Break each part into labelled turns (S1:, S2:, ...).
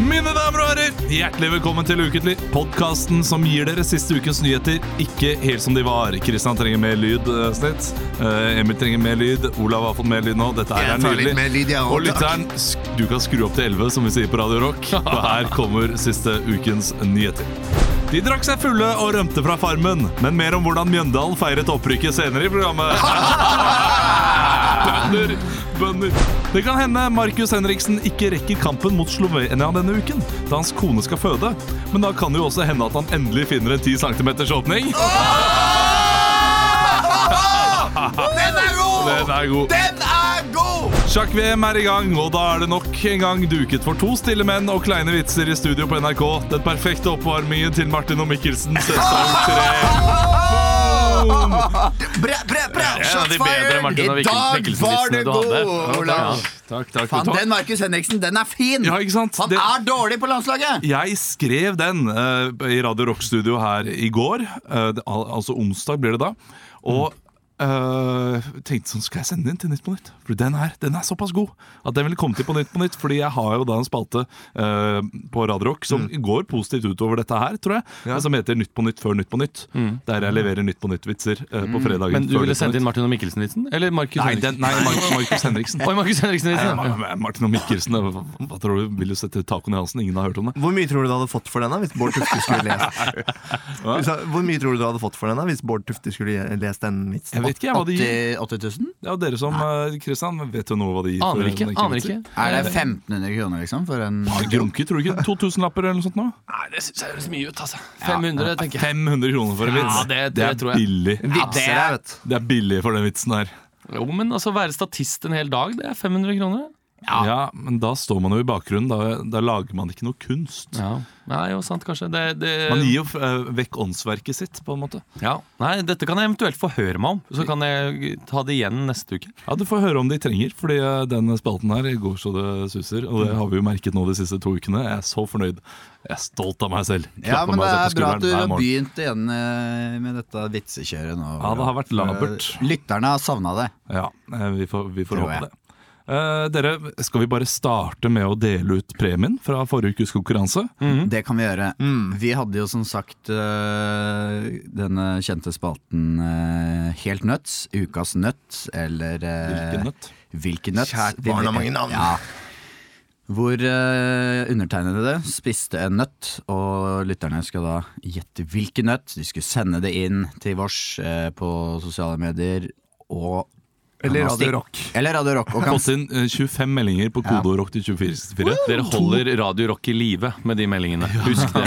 S1: Mine damer og herrer, hjertelig velkommen til Uketlig, podkasten som gir dere siste ukens nyheter ikke helt som de var. Kristian trenger mer lyd, eh, snitt. Eh, Emil trenger mer lyd. Olav har fått mer lyd nå. Dette her er
S2: Jeg tar litt mer
S1: nydelig.
S2: lyd, jeg
S1: Og
S2: òg.
S1: lytteren, sk- du kan skru opp til 11, som vi sier på Radio Rock. For her kommer siste ukens nyheter. De drakk seg fulle og rømte fra Farmen, men mer om hvordan Mjøndalen feiret opprykket senere i programmet. Bønner! Bønner! Det kan hende Markus Henriksen ikke rekker kampen mot Slovenia denne uken, da hans kone skal føde. Men da kan det jo også hende at han endelig finner en 10 cm åpning.
S2: Den er god!
S1: Den er god.
S2: Den er god!
S1: Sjakk-VM er i gang, og da er det nok en gang duket for to stille menn og kleine vitser i studio på NRK. Den perfekte oppvarmingen til Martin og Mikkelsen sesong tre. Boom!
S2: Bre, bre, bre,
S3: Ja,
S2: shots
S3: de bedre
S2: fired!
S3: Martin og
S2: I dag
S3: Mikkelsen-
S2: var det
S3: Mikkelsen-vitsene du hadde.
S2: god,
S3: Ja,
S2: Olav.
S1: Takk, takk.
S2: Faen,
S1: takk.
S2: den Markus Henriksen, den er fin!
S1: Ja, ikke sant?
S2: Han
S1: Det-
S2: er dårlig på landslaget!
S1: Jeg skrev den eh, i Radio Rock Studio her i går. eh, det- al altså onsdag blir det da. Og eh, tenkte sånn, skal jeg sende den til Nytt på Nytt? For den her, den er såpass god at den ville komme til på Nytt på Nytt. Fordi jeg har jo da en spalte eh, på Radio Rock som
S3: Mm.
S1: går positivt utover dette her, tror jeg. men Som heter Nytt på Nytt før Nytt på Nytt. Der jeg leverer Nytt på Nytt-vitser eh, på
S3: Mm.
S1: fredagen.
S3: Men du
S1: før
S3: ville
S1: Nytt på
S3: sendt inn
S1: Nytt.
S3: Martin og Mikkelsen-vitsen? Eller Markus
S1: Nei,
S3: Henriksen?
S1: den, nei Markus, Markus Henriksen.
S3: Oi, Markus liksom. Henriksen-vitsen!
S1: Nei, Ma- Martin og Mikkelsen, hva, hva tror du? Vil du sette tacoen i halsen? Ingen har hørt om det.
S4: Hvor mye tror du du hadde fått for denne hvis Bård Tufte skulle lest Hvis han- Hvor mye tror du du hadde fått for denne hvis Bård Tufte skulle lest den
S1: Jeg
S4: vitsen?
S1: vet ikke jeg, hva det gir.
S2: 80 80 000?
S1: Ja, dere som eh, Kristian, vet jo noe hva de gir? for
S3: Aner ikke.
S1: en
S3: aner
S1: enkeltvitser?
S3: ikke
S2: Er det 1500 kroner, liksom? For en
S1: Grunke, tror du ikke? 2000 lapper eller noe sånt nå?
S3: Nei, Det syns jeg høres mye ut. altså 500, tenker jeg.
S1: 500 kroner for en vits.
S3: Ja, det- det
S1: er
S3: tror jeg.
S1: billig.
S4: Vitser jeg, vet
S1: Det er billig for den vitsen her.
S3: Jo, men altså Være statist en hel dag, det er 500 kroner.
S1: Ja. Men da står man jo i bakgrunnen. Da, da lager man ikke noe kunst.
S3: Ja, Nei, jo, sant, kanskje. Det, det,
S1: Man gir jo eh, vekk åndsverket sitt, på en måte.
S3: ja. Nei, Dette kan jeg eventuelt forhøre meg om, så kan jeg ta det igjen neste uke.
S1: Ja, Du får høre om de trenger, fordi eh, den spalten her går så det suser. Og
S2: Mm.
S1: det har vi jo merket nå de siste to ukene. Jeg er så fornøyd. Jeg er stolt av meg selv.
S2: Ja,
S1: Klapper
S2: men det
S1: meg
S2: er
S1: selv altså på
S2: bra at du
S1: skulderen hver
S2: har
S1: morgen.
S2: begynt igjen eh, med dette vitsekjøret nå. Eh,
S1: Ja, det har vært labert.
S2: Lytterne har savna det.
S1: Ja, eh, vi får, vi får
S2: Tror
S1: håpe
S2: jeg.
S1: det. Eh, dere, skal vi bare starte med å dele ut premien fra forrige ukes konkurranse?
S2: Det kan vi gjøre. Mm, Vi hadde jo som sagt øh, denne kjente spalten øh, Helt nøtt, Ukas nøtt, eller øh,
S1: Hvilken nøtt?
S2: Hvilken nøtt?
S4: Kjært barn har mange navn.
S2: Ja. Hvor øh, undertegnede spiste en nøtt, og lytterne skal da gjette hvilken nøtt. De skulle sende det inn til vårs øh, på sosiale medier og
S4: Eller
S2: kan da
S4: Radio
S2: stik-
S4: Rock.
S2: Eller Radio Rock. Og kan
S1: Fått inn eh, 25 meldinger på kode og rock til 2464.
S3: Dere holder Radio Rock i live med de meldingene. Husk det.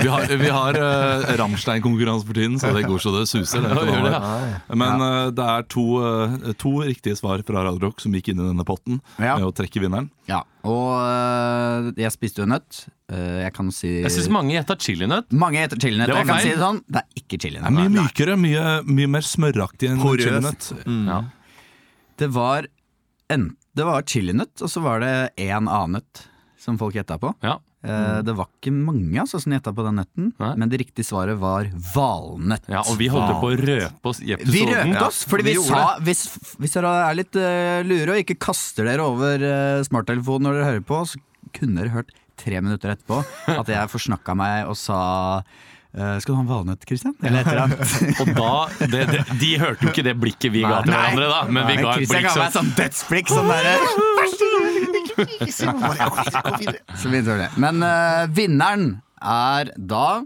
S1: Vi har, vi har eh, Rammstein-konkurranse for tiden, så det går så det suser. Det er ikke
S3: Ja, gjør
S1: noe
S3: det,
S1: av det. Men eh, det er to, eh, to riktige svar fra Radio Rock som gikk inn i denne potten
S2: Ja.
S1: med å trekke vinneren.
S2: ja. Og øh, jeg spiste jo en nøtt. Øh, jeg kan si
S3: Jeg syns mange gjetta chilinøtt.
S2: Mange heter chilinøtt.
S3: Det var
S2: Jeg kan
S3: feil.
S2: si det sånn. Det er ikke
S1: Det er
S2: chilinøtt.
S1: mye mykere, mye, mye mer smøraktig enn
S4: Porøst.
S1: chilinøtt.
S3: Ja.
S2: Det var, en, det var chilinøtt, og så var det en annen nøtt som folk gjetta på.
S3: Ja.
S1: Mm.
S2: Eh, Det var ikke mange altså, som gjetta på den nøtten,
S3: Nei.
S2: men det riktige svaret var valnøtt.
S3: ja, Og vi holdt jo på å røpe oss hjem
S2: Vi
S3: til sonen.
S2: røpte oss, fordi vi,
S4: vi gjorde
S2: sa hvis, hvis dere er litt eh, lure og ikke kaster dere over eh, smarttelefonen når dere hører på, så kunne dere hørt tre minutter etterpå at jeg forsnakka meg og sa eh, Skal du ha en valnøtt, Christian? Eller et eller annet.
S3: Og da, det, det, De hørte jo ikke det blikket vi ga til
S2: Nei.
S3: hverandre, da. Men vi
S2: Nei,
S3: ga
S2: Christian
S3: et blikk
S2: ga meg
S3: som
S2: sånn dødsblikk sånn derre Så begynte det å le. Men eh, vinneren er da eh,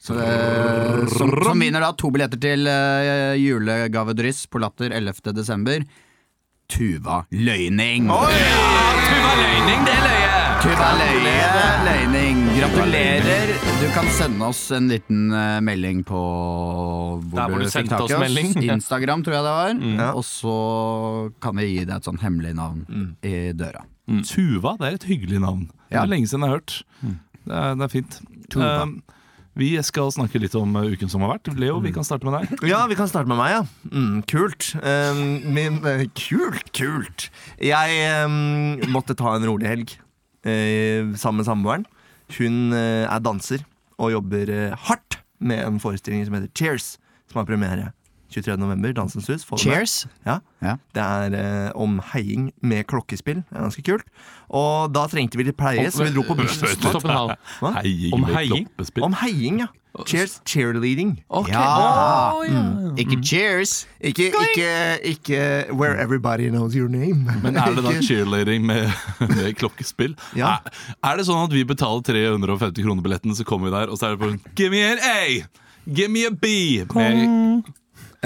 S2: som, som vinner da to billetter til uh, julegavedryss på Latter 11. desember. Tuva Løyning.
S3: Tuva Løyning, det løy jeg!
S2: Tuva Løye- Løyning. Gratulerer. Du kan sende oss en liten eh, melding på hvor,
S3: Der hvor du
S2: fikk
S3: sendte
S2: tak
S3: oss
S2: i
S3: melding. Mm.
S2: Instagram, tror jeg det var.
S4: Ja.
S2: Og så kan vi gi deg et sånn hemmelig navn i døra.
S1: Tuva, det Mm. er et hyggelig navn. Det er lenge siden jeg har hørt.
S2: Mm.
S1: Det er, det er fint.
S2: Tuba.
S1: Um, vi skal snakke litt om uh, uken som har vært. Leo,
S2: Mm.
S1: vi kan starte med deg.
S4: Ja, vi kan starte med meg, ja. Mm, kult. Um, min, eh, kult, kult. Jeg um, måtte ta en rolig helg eh, sammen med samboeren. Hun eh, er danser og jobber eh, hardt med en forestilling som heter Cheers, som har premiere 23. november. Dansens hus. Få det med.
S2: Cheers.
S4: Ja.
S2: Ja.
S4: Det er eh, om heiing med klokkespill. Det er ganske kult. Og da trengte vi litt pleie, så vi dro på bussen.
S3: Stopp en halv.
S4: Hva?
S1: Heiing
S3: Om
S1: med
S3: heiing?
S1: kloppespill.
S4: Om heiing, ja. Cheers, cheerleading.
S3: Ok.
S2: Ja.
S3: Å, ja.
S2: Ikke cheers.
S4: Mm. Ikke, ikke, ikke Where everybody knows your name.
S1: Men er det da
S4: Ikke-
S1: cheerleading med, med klokkespill?
S4: Ja.
S1: Er, er det sånn at vi betaler 350 kroner billetten, så kommer vi der, og så er det på en Give me an A! Give me a B! Med,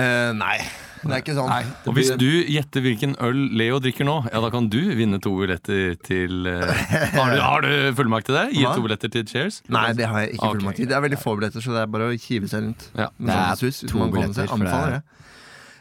S4: Eh, nei, det er ikke sånn.
S3: Og hvis du gjetter hvilken øl Leo drikker nå, ja da kan du vinne to billetter til eh, Har du, har du fullmakt til det? Gi
S4: Hva?
S3: to billetter til Cheers?
S4: Nei, det har jeg ikke
S3: Ok,
S4: fullmakt til. Det er veldig få billetter, så det er bare å hive seg rundt.
S3: Ja.
S4: Med
S2: Det er
S4: Sandnes Hus, uten
S2: to
S4: å komme seg.
S2: billetter, for det
S4: Anbefaler
S2: er-
S4: det.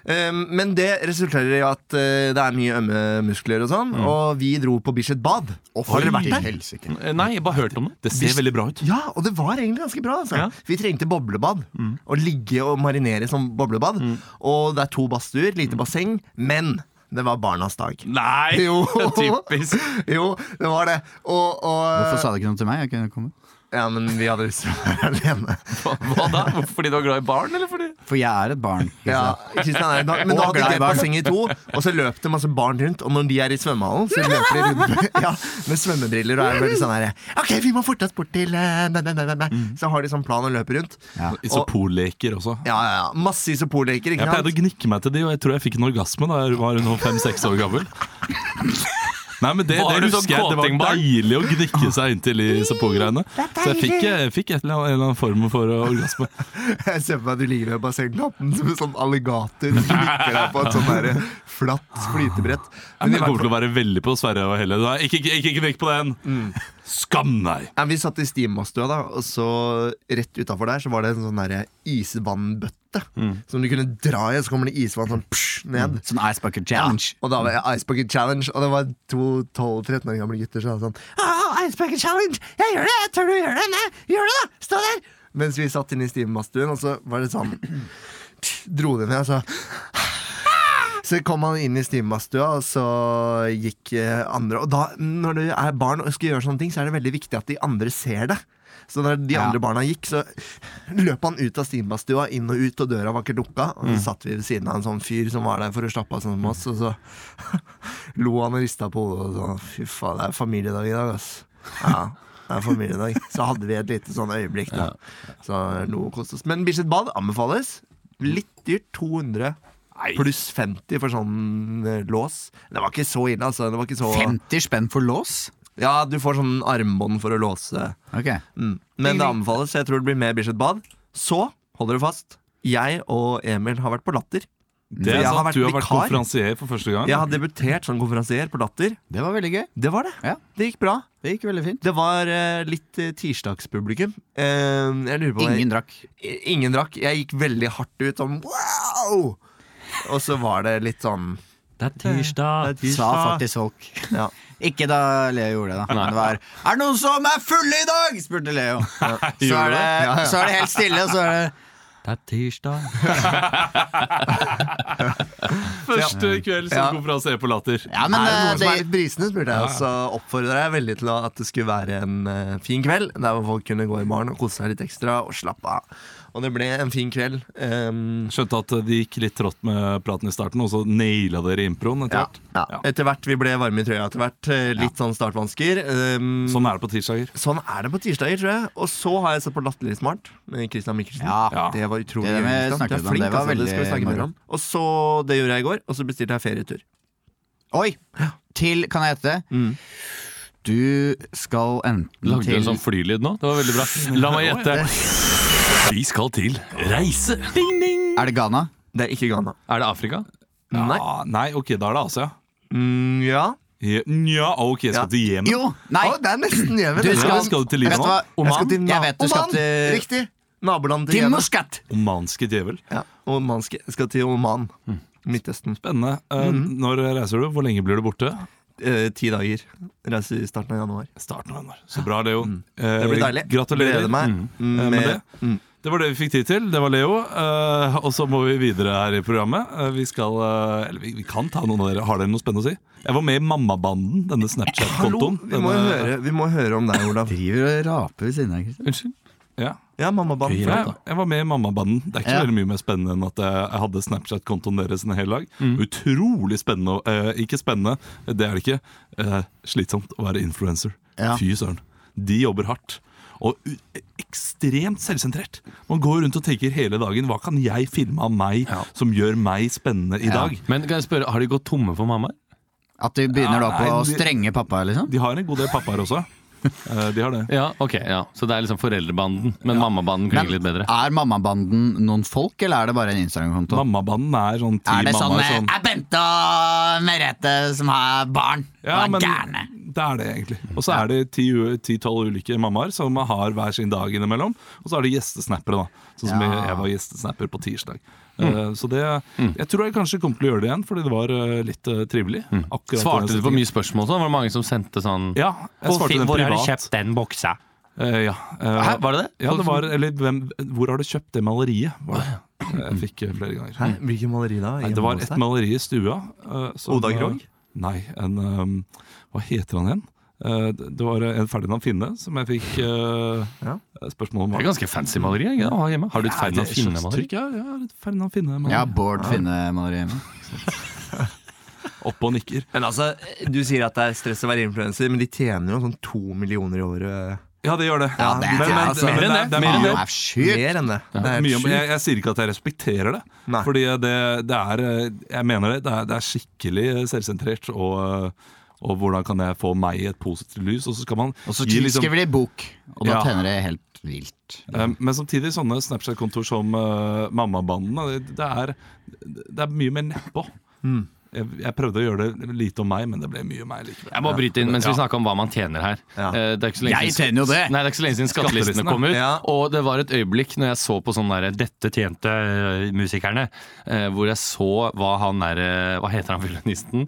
S4: Um, men det resulterer i at eh, det er mye ømme muskler og sånn, og vi dro på Bislett Bad. har dere vært der?
S2: Helsike.
S3: Eh, Nei, jeg bare hørt om det.
S1: det ser veldig bra ut.
S4: Ja, og det var egentlig ganske bra. Altså.
S3: Ja. Mm.
S4: Vi trengte boblebad. Å ligge og marinere som boblebad. Og det er to badstuer, lite basseng, men det var barnas dag.
S3: Mm. Nei!
S4: Jo.
S3: Typisk.
S4: Jo, det var det. Og, og
S2: Hvorfor sa du ikke noe til meg? Jeg kunne komme.
S4: Ja, men vi hadde lyst til å være alene.
S3: Hva, hva da? Fordi du var glad i barn, eller fordi
S2: For jeg er et barn.
S4: Ja, Kristian er da, men da
S2: Og
S4: hadde
S2: glad
S4: de
S2: i
S4: et
S2: barn.
S4: basseng i to, og så løp det masse barn rundt. Og når de er i svømmehallen, så løper de rundt ja, med svømmebriller og er veldig sånn her OK, vi må forte oss bort til eh, bæ, bæ, bæ, bæ, bæ».
S3: Mm.
S4: Så har de sånn plan og løper rundt.
S2: Ja.
S1: Isoporleker sånn også.
S4: Ja, ja, ja. Masse isoporleker,
S1: Jeg
S4: ikke
S1: pleide å
S4: sant?
S1: gnikke meg til de, og jeg tror jeg fikk en orgasme da jeg var noen fem-seks år gammel. Nei, men det,
S3: Var
S1: det
S3: du sånn
S1: husker jeg. Det var
S3: kåtingbarn?
S1: deilig å gnikke seg inntil i isoporgreiene. Så jeg fikk, jeg fikk et eller annet, en eller annen form for orgasme.
S4: Jeg ser for meg at du ligger ved bassengkanten som en sånn alligator som ligger deg på et sånn der flatt flytebrett.
S1: Men
S4: Men i
S1: jeg
S4: hvert
S1: kommer til å være veldig på Sverre og Helle. Nei, Ikke, ikke, ikke knikk på den!
S2: Mm.
S1: Skam deg!
S4: Nei, vi satt i Stimastua, da, og så rett utafor der så var det en sånn der isvannbøtte. Som du kunne dra i, og så kommer det isvann sånn psh, ned.
S2: Sånn Ice Bucket Challenge.
S4: Og da var jeg Ice Bucket Challenge, og det var to 12-13 år gamle gutter som var sånn «Ah, Ice Bucket Challenge! Jeg gjør det! Jeg tør du gjøre det? Nei, gjør det, da! Stå der! Mens vi satt inne i stivmastuen, og så var det sånn Dro det ned, og så så kom han inn i stivmastua, og så gikk eh, andre Og da, når du er barn og skal gjøre sånne ting, så er det veldig viktig at de andre ser det. Så når de
S2: Ja.
S4: andre barna gikk, så løp han ut av stivmastua, inn og ut, og døra var ikke lukka. Og så satt vi ved siden av en sånn fyr som var der for å slappe av sånn som oss, og så lo han og rista på hodet og sånn Fy faen, det er familiedag i dag, ass. Ja, det er familiedag. Så hadde vi et lite sånn øyeblikk, da. Så lo og koste oss. Men Bislett Bad anbefales. Litt dyrt. 200 pluss 50 for sånn eh, lås. Det var ikke så ille, altså. Det var ikke så
S2: 50 spenn for lås?
S4: Ja, du får sånn armbånd for å låse.
S2: Ok.
S4: Mm. Men det anbefales. Jeg tror det blir mer Bislett Bad. Så, hold dere fast, jeg og Emil har vært på Latter.
S1: Det er
S4: Jeg har
S1: sant,
S4: vært
S1: Du har vært
S4: vikar.
S1: konferansier for første gang.
S4: Jeg har debutert som konferansier på Latter.
S2: Det var veldig gøy.
S4: Det var det.
S2: Ja.
S4: Det gikk bra.
S2: Det gikk veldig fint.
S4: Det var eh, litt eh, tirsdagspublikum. Eh, jeg lurer på hva-
S2: Ingen drakk.
S4: ingen drakk. Jeg gikk veldig hardt ut om wow! Og så var det litt sånn
S3: Det er
S1: Ah,
S3: tirsdag.
S2: Sa faktisk folk.
S4: ja.
S2: Ikke da Leo gjorde det, da. Men det var 'Er det noen som er fulle i dag?' spurte Leo. Så er det, så er det helt stille, og så er det
S3: Det er tirsdag.
S1: Første kveld som
S4: Ja.
S1: konferansier på Latter.
S2: Ja, men
S4: er det noen
S2: eh,
S4: som er
S2: det,
S4: litt brisende, spurte jeg. Og så oppfordra jeg veldig til at det skulle være en eh, fin kveld. Der hvor folk kunne gå i baren og kose seg litt ekstra og slappe av. Og det ble en fin kveld. Um,
S1: Skjønte at det gikk litt trått med praten i starten, og så naila dere improen etter
S4: ja,
S1: hvert.
S4: ja.
S1: Ja.
S4: Etter hvert vi ble varme i trøya etter hvert. eh, Litt sånn startvansker. Um,
S1: Sånn er det på tirsdager.
S4: Sånn er det på tirsdager, tror jeg. Og så har jeg sett på Latterlig smart med Christian Mikkelsen.
S2: Ja.
S4: Det var utrolig
S2: Det er det vi
S4: gøy, Christian.
S2: snakket om. Det
S4: Du er
S2: var
S4: altså. skal vi
S2: veldig
S4: snakke mer
S2: moro.
S4: om. Og så, Det gjorde jeg i går, og så bestilte jeg ferietur.
S2: Oi! Til Kan jeg gjette?
S4: Mm.
S2: Du skal enten
S3: Lagde du en
S2: til
S3: sånn flylyd nå? Det var veldig bra. La meg gjette. Vi skal til reise. Ding, ding.
S2: Er det Ghana?
S4: Det er ikke Ghana.
S3: Er det Afrika?
S4: Nei.
S1: Ah, nei, ok, da er det Asia.
S4: Mm, ja.
S1: Je- Nja, ok, jeg skal
S4: Ja.
S1: til Jemen.
S2: Jo! Nei!
S4: Å, det er nesten Jemen.
S2: Du
S4: det.
S1: Ja,
S2: skal,
S1: skal du til
S2: vet
S1: Libanon?
S2: hva?
S4: Jeg skal til Na-
S2: Jeg vet du skal
S4: Oman!
S2: til-
S4: Riktig! Nabolandet til
S2: Til
S4: Jemen.
S2: Muscat!
S1: Omanske djevel.
S4: Ja.
S2: Mm.
S4: Omanske. Jeg skal til Oman. Midtøsten. Mhm.
S1: Spennende. Eh, Når reiser du? Hvor lenge blir du borte?
S4: eh, ti dager. Reiser i starten av januar. Mm.
S1: Starten av januar. Så bra, Leo. Eh,
S4: Det blir deilig.
S1: Gratulerer.
S4: Gleder meg. Mm,
S1: Eh,
S4: Med,
S1: med det. Det var det vi fikk tid til. Det var Leo. Eh, og så må vi videre her i programmet. Eh, vi skal eh, Eller vi, vi kan ta noen av dere. Har dere noe spennende å si? Jeg var med i Mammabanden, denne
S4: Hallo,
S1: Snapchat-kontoen.
S4: vi må, jo
S1: Denne-
S4: høre, vi må høre om deg, Olav.
S2: Driver og raper ved siden av Kristian.
S3: Unnskyld.
S1: Ja.
S4: Ja, mammabarn.
S3: Gøy,
S1: Ja,
S3: da.
S4: Ja.
S1: jeg, jeg var med i Mammabanden. Det er ikke
S2: Ja.
S1: så veldig mye mer spennende enn at eh, jeg, jeg hadde Snapchat-kontoen deres en hel dag.
S2: Mm.
S1: Utrolig spennende. og- eh, ikke spennende, det er det ikke. Eh, slitsomt å være influenser.
S2: Ja.
S1: Fy søren. De jobber hardt. Og u ekstremt selvsentrert. Man går rundt og tenker hele dagen hva kan jeg filme av meg som gjør meg spennende i dag?
S3: Men kan jeg spørre, har de gått tomme for mammaer?
S2: At du begynner da på
S1: Ja, Ah, nei,
S2: å
S1: de-
S2: strenge pappa, liksom?
S1: De har en god del pappaer også. Eh, de har det.
S3: Ja, ok, ja. Så det er liksom foreldrebanden, men mammabanden klinger litt bedre.
S2: er mammabanden noen folk, eller er det bare en Instagram-konto?
S1: Mammabanden er sånn ti
S2: Er det sånn
S1: mammaer
S2: eh,
S1: sånn
S2: Er Bente og Merete som har barn? og
S1: Ja,
S2: er
S1: men
S2: gærne?
S1: det er det egentlig.
S3: Mm.
S1: Og så er det 10-12 ulike mammaer som har hver sin dag innimellom. Og så er det gjestesnappere, da. Sånn som
S2: Ja.
S1: jeg- jeg var gjestesnapper på tirsdag.
S3: Mm.
S1: Eh, Så det Jeg tror jeg kanskje kommer til å gjøre det igjen, fordi det var eh, litt eh, trivelig. Akkurat
S3: Mm. Svarte
S1: den
S3: du på
S1: settingen.
S3: mye spørsmål sånn? Var det mange som sendte sånn
S1: Ja, jeg svarte den privat.
S3: den boksa?
S1: Eh, Ja. Eh,
S3: Hæ, var det det?
S1: Ja, det var Eller hvem, hvor har du kjøpt det maleriet? Var det. Jeg fikk eh, flere ganger.
S4: Hæ? Hvilket maleri da?
S1: Nei, det
S4: Hjemme
S1: var
S4: hos
S1: et
S4: deg?
S1: maleri i stua. eh, som-
S4: Oda Krog?
S1: Nei, en um, Hva heter han igjen? Eh, det det var en Ferdinand Finne som jeg fikk eh,
S4: Ja.
S1: spørsmål om.
S3: Det er ganske fancy maleri er det ikke det, å ha hjemme. Har du et
S1: Ja, det
S3: Ferdinand
S1: er et slags
S3: Finne-maleri?
S1: trykk, Ja, ja, et Ferdinand Finne.
S2: Ja,
S1: Ja.
S2: Bård Finne-maleri hjemme.
S1: Oppe og nikker.
S4: Men altså, Du sier at det er stress å være influenser, men de tjener jo sånn to millioner i året.
S1: Ja, det gjør det.
S2: Ja, det er-
S1: men, men,
S2: altså,
S1: men
S3: mer enn
S1: det,
S3: det,
S1: det er
S3: mer enn
S1: mye
S2: Det
S1: jobb.
S2: er sjukt!
S4: Mer enn det. Det er
S1: Mye, jobb.
S4: sjukt.
S1: jeg, jeg sier ikke at jeg respekterer det,
S4: Nei.
S1: fordi det, det er eh, Jeg mener det. Det er, det er skikkelig eh, selvsentrert. Og, eh, og hvordan kan jeg få meg i et positivt lys? Og så skal man
S2: Og så
S1: gi liksom-
S2: skriver de bok, og da
S1: Ja.
S2: tjener de helt vilt.
S1: Um, Men samtidig sånne Snapchat-kontor som uh, Mammabanden det, det, er- det er mye mer nedpå. Jeg, jeg prøvde å gjøre det lite om meg, men det ble mye om meg likevel.
S3: Jeg må bryte inn mens vi
S1: Ja.
S3: snakker om hva man tjener her.
S4: Ja.
S3: Eh, Det er ikke så lenge
S2: Jeg
S3: siden-
S2: tjener jo det!
S3: Nei, det er ikke så lenge siden skattelistene
S1: Skattelistene.
S3: kom ut.
S4: Ja.
S3: Og det var et øyeblikk når jeg så på sånn derre 'Dette tjente eh, musikerne', eh, hvor jeg så hva han derre Hva heter han fiolinisten?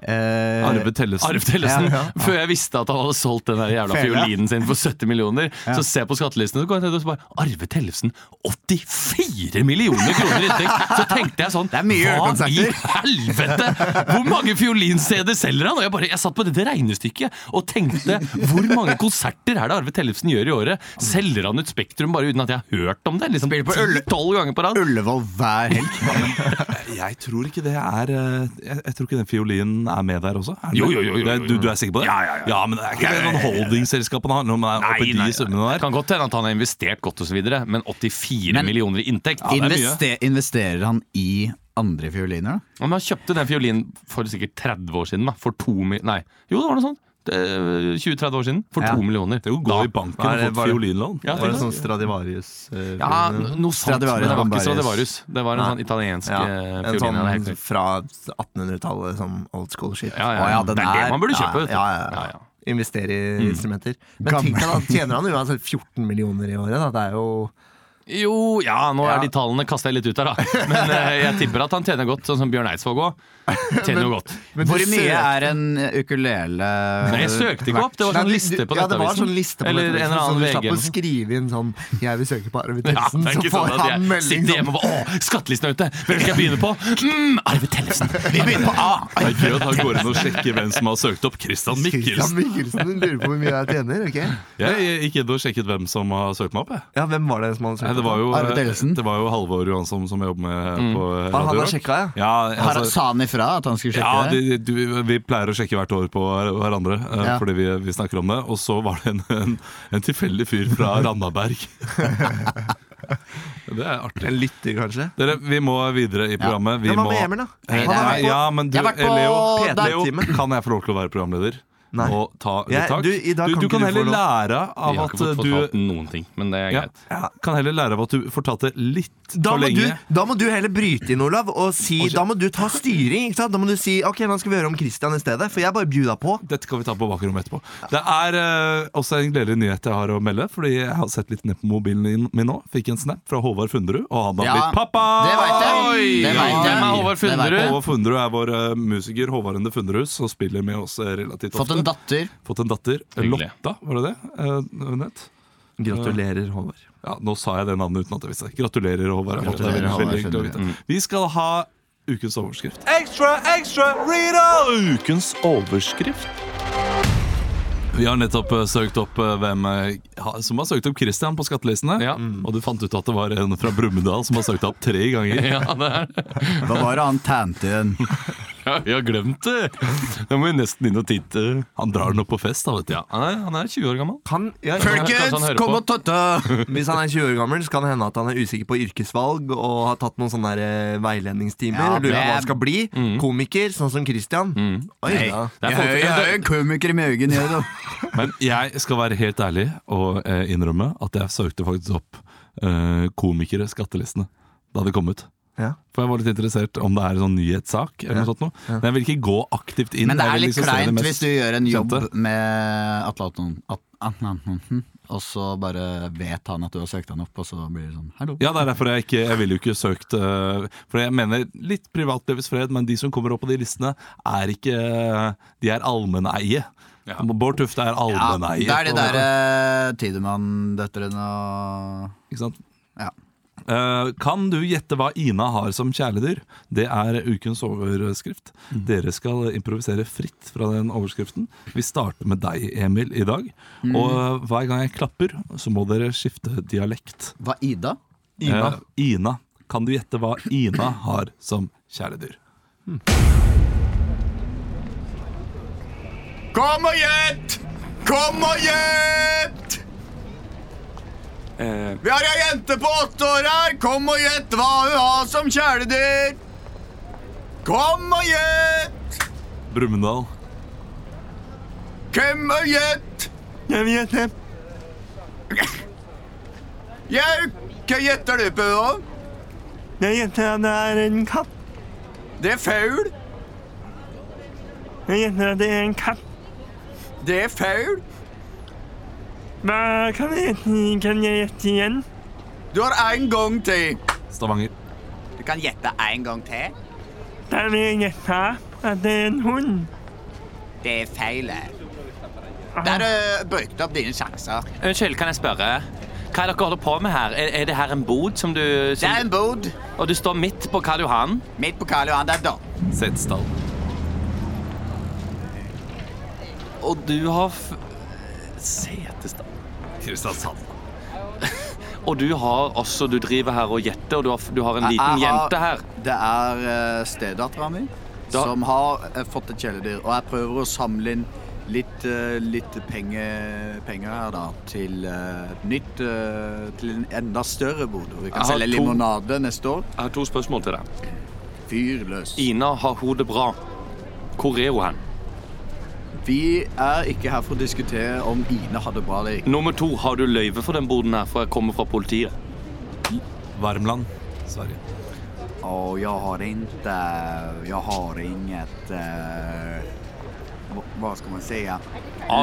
S1: Arve Tellesen.
S3: Arve Tellesen.
S4: Ja, ja.
S3: Før jeg visste at han hadde solgt den der jævla
S2: Fela.
S3: fiolinen sin for 70 millioner. Så ser jeg på skattelistene, så går jeg ned og så bare Arve Tellesen, 84 millioner kroner i inntekt! Så tenkte jeg sånn
S2: Det er mye
S3: Hva i
S2: julekonserter."
S3: helvete?! Hvor mange fiolin-CD-er selger han?! Og jeg, bare, jeg satt på dette regnestykket og tenkte hvor mange konserter er det Arve Tellefsen gjør i året? Selger han ut Spektrum bare uten at jeg har hørt om det? Liksom
S2: Spiller på Ulle-
S3: 10-12 ganger på rad.
S2: Ullevål hver helg.
S1: eh, Jeg tror ikke det er uh, jeg, jeg tror ikke den fiolinen er med der også. Er den
S3: Jo,
S1: det?
S3: jo, jo, jo,
S1: Det er-
S3: jo, jo.
S1: Du, du er sikker på det? Ja, ja, ja. men det er ikke noen holdingselskapen har noe med oppi de summene der.
S3: Kan godt hende at han har investert godt osv., men 84
S2: Men-
S3: millioner i inntekt
S1: det er mye.
S2: Investe- investerer han i andre fioliner, da?
S3: Ja, Men han kjøpte den fiolinen for sikkert 30 år siden. Da. For to mi... Nei, jo, det var noe sånt. Det- 20-30 år siden. For
S2: Ja.
S3: to millioner.
S1: Det er jo å gå
S3: Da-
S1: i banken
S4: Nei,
S1: og
S4: det
S1: få
S4: var-
S1: fiolinlån.
S3: Ja,
S4: Var det
S3: tenk
S4: sånn
S3: deg.
S4: Stradivarius? eh,
S3: ja, noe sånt. Men
S2: Stradivarius,
S3: det var ikke
S2: Bambarius.
S3: Stradivarius. Det var en
S4: Nei.
S3: sånn italiensk
S4: Ja,
S3: eh, fiolin. ja,
S4: en
S3: det er helt
S4: sånn
S3: korrekt.
S4: fra 1800-tallet, sånn old school shit.
S3: ja, ja,
S2: Å, ja, den
S3: det er
S2: er-
S3: det man burde
S4: Ja,
S3: kjøpe. vet du. Mm.
S4: ja, ja, ja. Investere i instrumenter. Men
S2: Gammel.
S4: tenk deg da, tjener han uansett 14 millioner i året. Da. Det er jo
S3: Jo, ja, nå
S4: Ja.
S3: er de tallene kasta litt ut her, da. Men eh, jeg tipper at han tjener godt, sånn som Bjørn Eidsvåg òg. Tjener jo godt.
S4: Men
S2: Hvor
S4: du
S2: mye
S4: søker-
S2: er en eh, ukulele?
S3: Nei, jeg søkte ikke opp. Det var
S4: Nei,
S3: sånn
S4: du-
S3: liste på
S4: ja, det var
S3: Nettavisen.
S4: sånn liste på
S3: Eller en
S2: liksom,
S3: eller
S4: så
S2: sånn
S3: annen
S4: du
S3: VG.
S4: slapp
S3: eller
S4: å
S3: noe sånt.
S4: skrive inn sånn 'Jeg vil søke på Arvid
S3: Ja,
S4: Tellesen',
S3: det er
S4: så
S3: ikke
S4: får
S3: sånn at
S4: han
S3: jeg
S4: melding
S3: sitter
S4: sånn
S3: hjemme og bare Å, skattelisten er ute! Hvem skal jeg begynne på? Mm, Arve Tellefsen! Vi begynner på A!
S1: Det er gøy at han går inn og sjekker hvem som har søkt opp Christian
S4: Christian
S1: Mikkelsen.
S4: Mikkelsen lurer på hvor mye jeg tjener. ok?
S1: Jeg jeg gikk inn og sjekket hvem som har søkt meg opp. jeg
S4: Ja, Hvem var det som hadde søkt?
S1: Nei, det var jo,
S2: Arve Tellesen.
S1: Det var jo Halvor Johansson som jeg jobber med
S3: Mm.
S1: på Radio
S4: han hadde
S1: Rock.
S4: sjekka, ja?
S1: Ja,
S2: Har,
S1: altså,
S2: sa han ifra at han skulle
S1: ja
S2: sjekke
S1: de,
S2: det?
S1: de, du- vi pleier å sjekke hvert år på hver- hverandre eh,
S2: Ja.
S1: fordi vi, vi snakker om det. Og så var det en, en, en tilfeldig fyr fra Randaberg. det er artig.
S4: En lytter, kanskje?
S1: Dere, vi må videre i programmet. Vi
S4: Men hva
S1: må,
S4: med Emil, da?
S1: Eh,
S4: Han har vært på-
S1: ja, men du,
S2: Jeg har vært på
S1: eh, Leo,
S2: P3-time.
S1: Leo, kan jeg få lov til å være programleder?
S4: Nei.
S1: å ta
S4: Jeg-
S1: vedtak.
S4: du, i dag
S1: du, du
S4: kan ikke
S1: kan
S4: du
S1: heller
S4: få lov.
S1: lære
S3: Vi
S1: av
S3: har ikke
S1: at
S3: fått
S1: du
S3: fortalt noen ting, men det er
S1: ja,
S3: greit.
S1: kan heller lære av at du fortalte litt
S4: Da
S1: for
S4: må, du,
S1: lenge.
S4: da må du heller bryte inn, Olav, og si,
S1: Å, shit.
S4: da må du ta styring. Ikke sant? Da må du si ok, nå skal vi høre om Christian i stedet. For jeg bare bjuda på.
S1: Dette kan vi ta på bakrommet etterpå. Det er eh, også en gledelig nyhet jeg har å melde. Fordi jeg har sett litt ned på mobilen min- min nå. Fikk en snap fra Håvard Funderud, og han har
S2: Ja,
S1: blitt pappa!
S2: Det veit jeg! Det
S3: ja,
S2: vet jeg.
S3: hvem er Håvard
S2: Det vet jeg.
S3: Funderud?
S1: Håvard Funderud er vår eh, musiker, Håvard Ende Funderud, som spiller med oss eh, relativt
S2: Fått
S1: ofte.
S2: en datter.
S1: Fått en datter.
S3: Hyggelig.
S1: Lotta, var det det? Eh, nett?
S4: Gratulerer, Håvard.
S1: Ja, nå sa jeg det navnet uten at jeg visste det. Gratulerer, Håvard. Det er
S2: Gratulerer,
S1: veldig
S2: Håvard
S1: hyggelig å
S2: Funderud.
S1: vite. Vi skal ha ukens overskrift.
S3: Ukens overskrift.
S1: Vi har nettopp eh, søkt opp eh, hvem eh, ha- som har søkt opp Christian på skattelistene.
S3: Ja.
S2: Mm.
S1: Og du fant ut at det var en fra Brumunddal som har søkt opp tre ganger.
S3: Ja, det er
S2: Hva var det han tante igjen?
S3: Ja, vi har glemt det! Da må vi nesten inn og titte.
S1: Han drar den opp på fest, da, vet du.
S3: Ja, han er, han er 20 år gammel.
S4: Han, ja,
S3: Kanskje han
S2: Folkens,
S3: hører
S2: kom
S3: på.
S2: og tøtte!
S4: hvis han er 20 år gammel, så kan det hende at han er usikker på yrkesvalg og har tatt noen sånne der, eh, veiledningstimer.
S2: Ja,
S4: og lurer på hva
S2: det-
S4: han skal bli. Komiker, sånn som Christian. Oi,
S3: Mm. Det
S4: ja.
S3: er
S2: Jeg
S3: folk-
S2: er jo- jeg er jo en komiker med øynene ned. da.
S1: Men jeg skal være helt ærlig og eh, innrømme at jeg søkte faktisk opp eh, komikere skattelistene da det kom ut.
S4: Ja.
S1: For jeg var litt interessert om det er en sånn nyhetssak eller noe sånt noe. Men jeg vil ikke gå aktivt inn.
S2: Men det
S1: Jeg
S2: er
S1: vil
S2: litt
S1: liksom se det
S2: kleint
S1: mest-
S2: hvis du gjør en
S1: kjente.
S2: jobb med Atle Antonsen, At- Atle Antonsen, og så bare vet han at du har søkt han opp, og så blir det sånn hallo.
S1: Ja, det er derfor jeg ikke Jeg ville jo ikke søkt eh, For jeg mener litt privatlivets fred, men de som kommer opp på de listene, er ikke De er allmenneie.
S3: Ja.
S1: Bård Tufte er
S2: Ja,
S1: allmenneie.
S2: det eh, er de
S1: på en måte.
S2: derre Tidemann-døtrene og
S1: Ikke sant?
S2: Ja.
S1: Eh, kan du gjette hva Ina har som kjæledyr? Det er ukens overskrift.
S2: Mm.
S1: Dere skal improvisere fritt fra den overskriften. Vi starter med deg, Emil, i dag.
S2: Mm.
S1: Og eh, hver gang jeg klapper, så må dere skifte dialekt.
S2: Hva, Ida?
S4: Ina.
S1: Eh, Ina. Kan du gjette hva Ina har som kjæledyr?
S2: Kom og gjett! Kom og gjett!
S4: Eh.
S2: Vi har ei jente på åtte år her. Kom og gjett hva hun har som kjæledyr. Kom og gjett!
S1: Brumunddal.
S2: Kom og gjett!
S4: Jeg vet det.
S2: Jau, hva gjetter du på? da?
S4: Jeg gjetter at det er en katt.
S2: Det er faul.
S4: Jeg gjetter at det er en katt.
S2: Det er faul.
S4: Hva kan jeg gjette, kan jeg gjette igjen?
S2: Du har én gang til.
S1: Stavanger.
S2: Du kan gjette én gang til.
S4: Da vil jeg gjette at det er en hund.
S2: Det er feil. Der brukte opp dine sjanser.
S5: Unnskyld, kan jeg spørre? Hva er dere holder på med her? Er, er det her en bod som du
S2: Det er
S5: som,
S2: en bod
S5: Og du står midt på Karl Johan?
S2: midt på Karl Johan. Det er da.
S1: Setesdal.
S5: Og du har f... Setesdal
S1: Kristiansand.
S5: Og du har også Du driver her og gjetter, og du har, f- du har en liten
S2: Jeg har-
S5: jente her.
S2: Det er eh, stedattera mi
S5: Da-
S2: som har eh, fått et kjæledyr. Og jeg prøver å samle inn litt, eh, litt penge, penger her, da. Til eh, et nytt eh, Til en enda større bod. hvor Vi kan
S5: Jeg har
S2: selge
S5: to-
S2: limonade neste år.
S5: Jeg har to spørsmål til deg.
S2: Fyr løs.
S5: Ina har hodet bra. Hvor er hun hen?
S2: Vi er ikke her for å diskutere om Ine har det bra eller ikke.
S5: Nummer to, har du løyve for den boden her, for jeg kommer fra politiet?
S1: Värmland. Sverige.
S2: Å, jeg har ikke Jeg har inget eh, hva- Hva skal man si?
S5: Ja,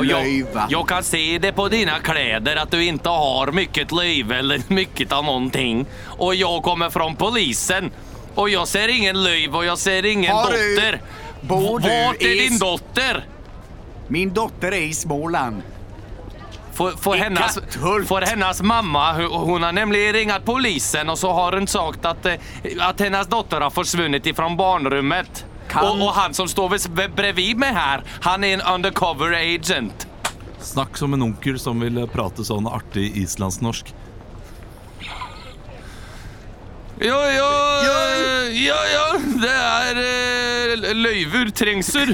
S5: jeg,
S2: Løyve.
S5: jeg kan se det på dine kläder att du inte har mycket löjve eller mycket av någonting. Och jag kommer från polisen och jag ser ingen löjve och jag ser ingen
S2: Har du-
S5: dotter.
S2: Bor du
S5: Vart är
S2: i-
S5: din dotter?
S2: Min datter er i Småland.
S5: Får, får, hennes,
S2: Katthult.
S5: får hennes mamma, hu- hon har nämligen ringat polisen och så har hon sagt att, eh, att hennes dotter har försvunnit ifrån barnrummet.
S2: Kan-
S5: Och, och han som står vid, bredvid mig här, han är en undercover agent.
S1: Snakk som en onkel som vil prate sånn artig islandsnorsk.
S5: Ja, ja, ja, ja, det er eh, løyver, trengsur.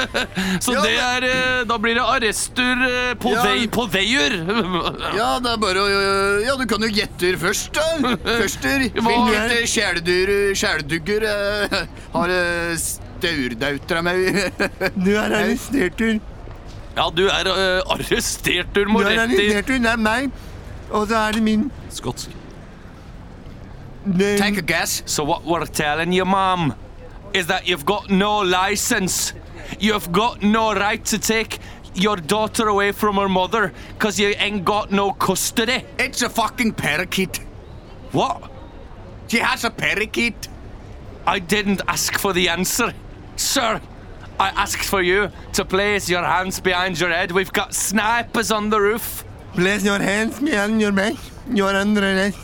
S5: Så det er eh, Da blir det arrestur eh, på,
S2: Ja.
S5: vei, på veier.
S2: Ja, det er bare å Ja, du kan jo gjette først, da. Førster. Hvilket eh, kjæledyr Kjæledugger eh, har eh, staurdautra meg
S4: Du er arrestert, du.
S5: Ja, du er eh, arrestert, du må
S4: Du er
S5: rett i
S4: arrestert unna meg, og så er det min
S3: Skotsk.
S4: Nei.
S2: Take a guess.
S5: So what we're telling you, mom, is that you've got no license. You've got no right to take your daughter away from her mother because you ain't got no custody.
S2: It's a fucking parakeet.
S5: What?
S2: She has a parakeet.
S5: I didn't ask for the answer. Sir, I asked for you to place your hands behind your head. We've got snipers on the roof.
S4: Place your hands behind your back. Your andre leg.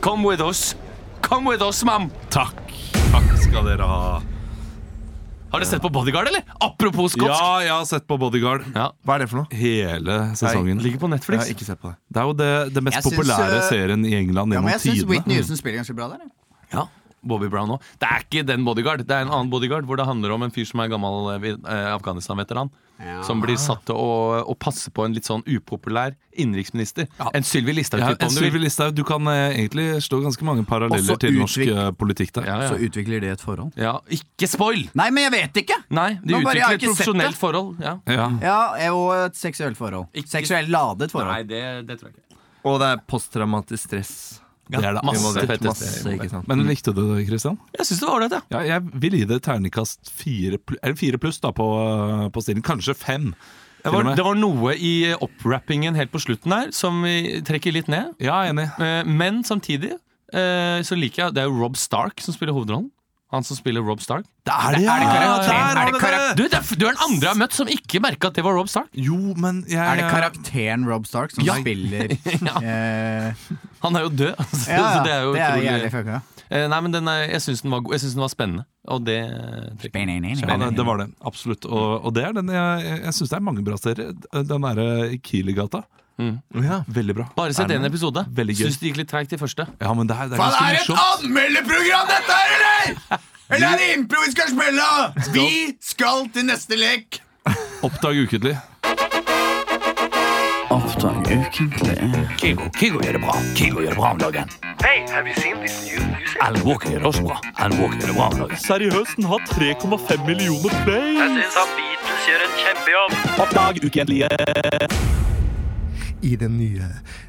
S5: Come with us. Come with us, mom.
S1: Takk. Takk skal dere ha.
S3: Har dere sett på Bodyguard, eller? Apropos skotsk.
S1: Ja, jeg har sett på Bodyguard
S4: Hva er det for noe?
S1: hele sesongen.
S3: Ligger på
S4: Jeg
S3: Netflix.
S4: har ikke sett på det.
S1: Det er jo det, det mest
S2: Jeg syns,
S1: populære
S2: eh,
S1: serien i England
S2: Ja, men
S1: gjennom
S2: jeg syns Whitney
S1: tidene.
S2: Houston spiller ganske bra der. jeg.
S3: Ja, Bobby Brown òg. Det er ikke den bodyguard, det er en annen bodyguard hvor det handler om en fyr som er gammel eh, vi- eh, Afghanistan-veteran. Som blir satt til å, å passe på en litt sånn upopulær innenriksminister. En Sylvi
S1: Ja,
S3: Listhaug-type,
S1: en
S3: om du
S1: Sylvi
S3: vil.
S1: Listhaug. Du kan eh, egentlig slå ganske mange paralleller
S2: Også
S1: til norsk
S2: utvik-
S1: eh, politikk der.
S3: Ja, ja.
S2: utvikler de et forhold.
S3: ja, ikke spoil!
S2: Nei, men jeg vet ikke!
S3: Nei, de
S2: Nå bare, jeg har ikke
S3: utvikler et
S2: sett
S3: profesjonelt
S2: det.
S3: forhold. Ja.
S1: Ja.
S2: Ja, jeg- og et seksuelt forhold.
S3: Ikke-
S2: Seksuelt ladet forhold.
S3: Nei, det, det tror jeg ikke.
S4: Og det er posttraumatisk stress.
S1: Det er det
S3: Masse
S1: absolutt.
S3: fett.
S4: Masse, ikke sant?
S1: Men likte du det, Christian?
S3: Jeg syns det var ålreit, ja.
S1: Ja, jeg vil gi det terningkast fire, pl- eller fire pluss da, på, eh, på stilen. Kanskje fem.
S3: Det
S1: til og
S3: var,
S1: med.
S3: det var noe i eh, oppwrappingen helt på slutten her som vi trekker litt ned.
S1: Ja, enig.
S3: Eh, Men samtidig eh, så liker jeg Det er jo Rob Stark som spiller hovedrollen. Han som spiller Rob Stark.
S1: Det er det, ja!
S2: det karakter?
S1: Der
S2: Er
S1: har
S2: det
S1: du
S2: karakter?
S1: det!
S3: Du, det er, du er den andre jeg har møtt som ikke merka at det var Rob Stark.
S1: Jo, men jeg
S2: Er det karakteren Rob Stark som
S3: Ja.
S2: spiller
S3: Ja.
S2: eh,
S3: Han er jo død. Altså,
S2: Ja, ja.
S3: Så det er jo
S2: jævlig
S3: utrolig
S2: fucka.
S3: Eh, Nei, men den er, jeg syns den, var god. Jeg synes den var spennende. Og det eh, trekker jeg.
S1: Ja, det, det var det. Absolutt. Og, og det er den jeg, jeg- jeg syns det er mange bra serier. Den derre Kielergata.
S4: Ja.
S1: Veldig bra.
S3: Mm. Bare sett én episode.
S1: Veldig gøy.
S3: Syns det gikk litt treigt i første.
S1: Ja, men det er, det er
S2: Faen,
S1: ganske
S2: er det et
S1: morsomt.
S2: anmeldeprogram dette her, eller?! Eller er det impro vi skal spille?! Vi skal til neste lek!
S1: Oppdag ukentlig.
S4: I den nye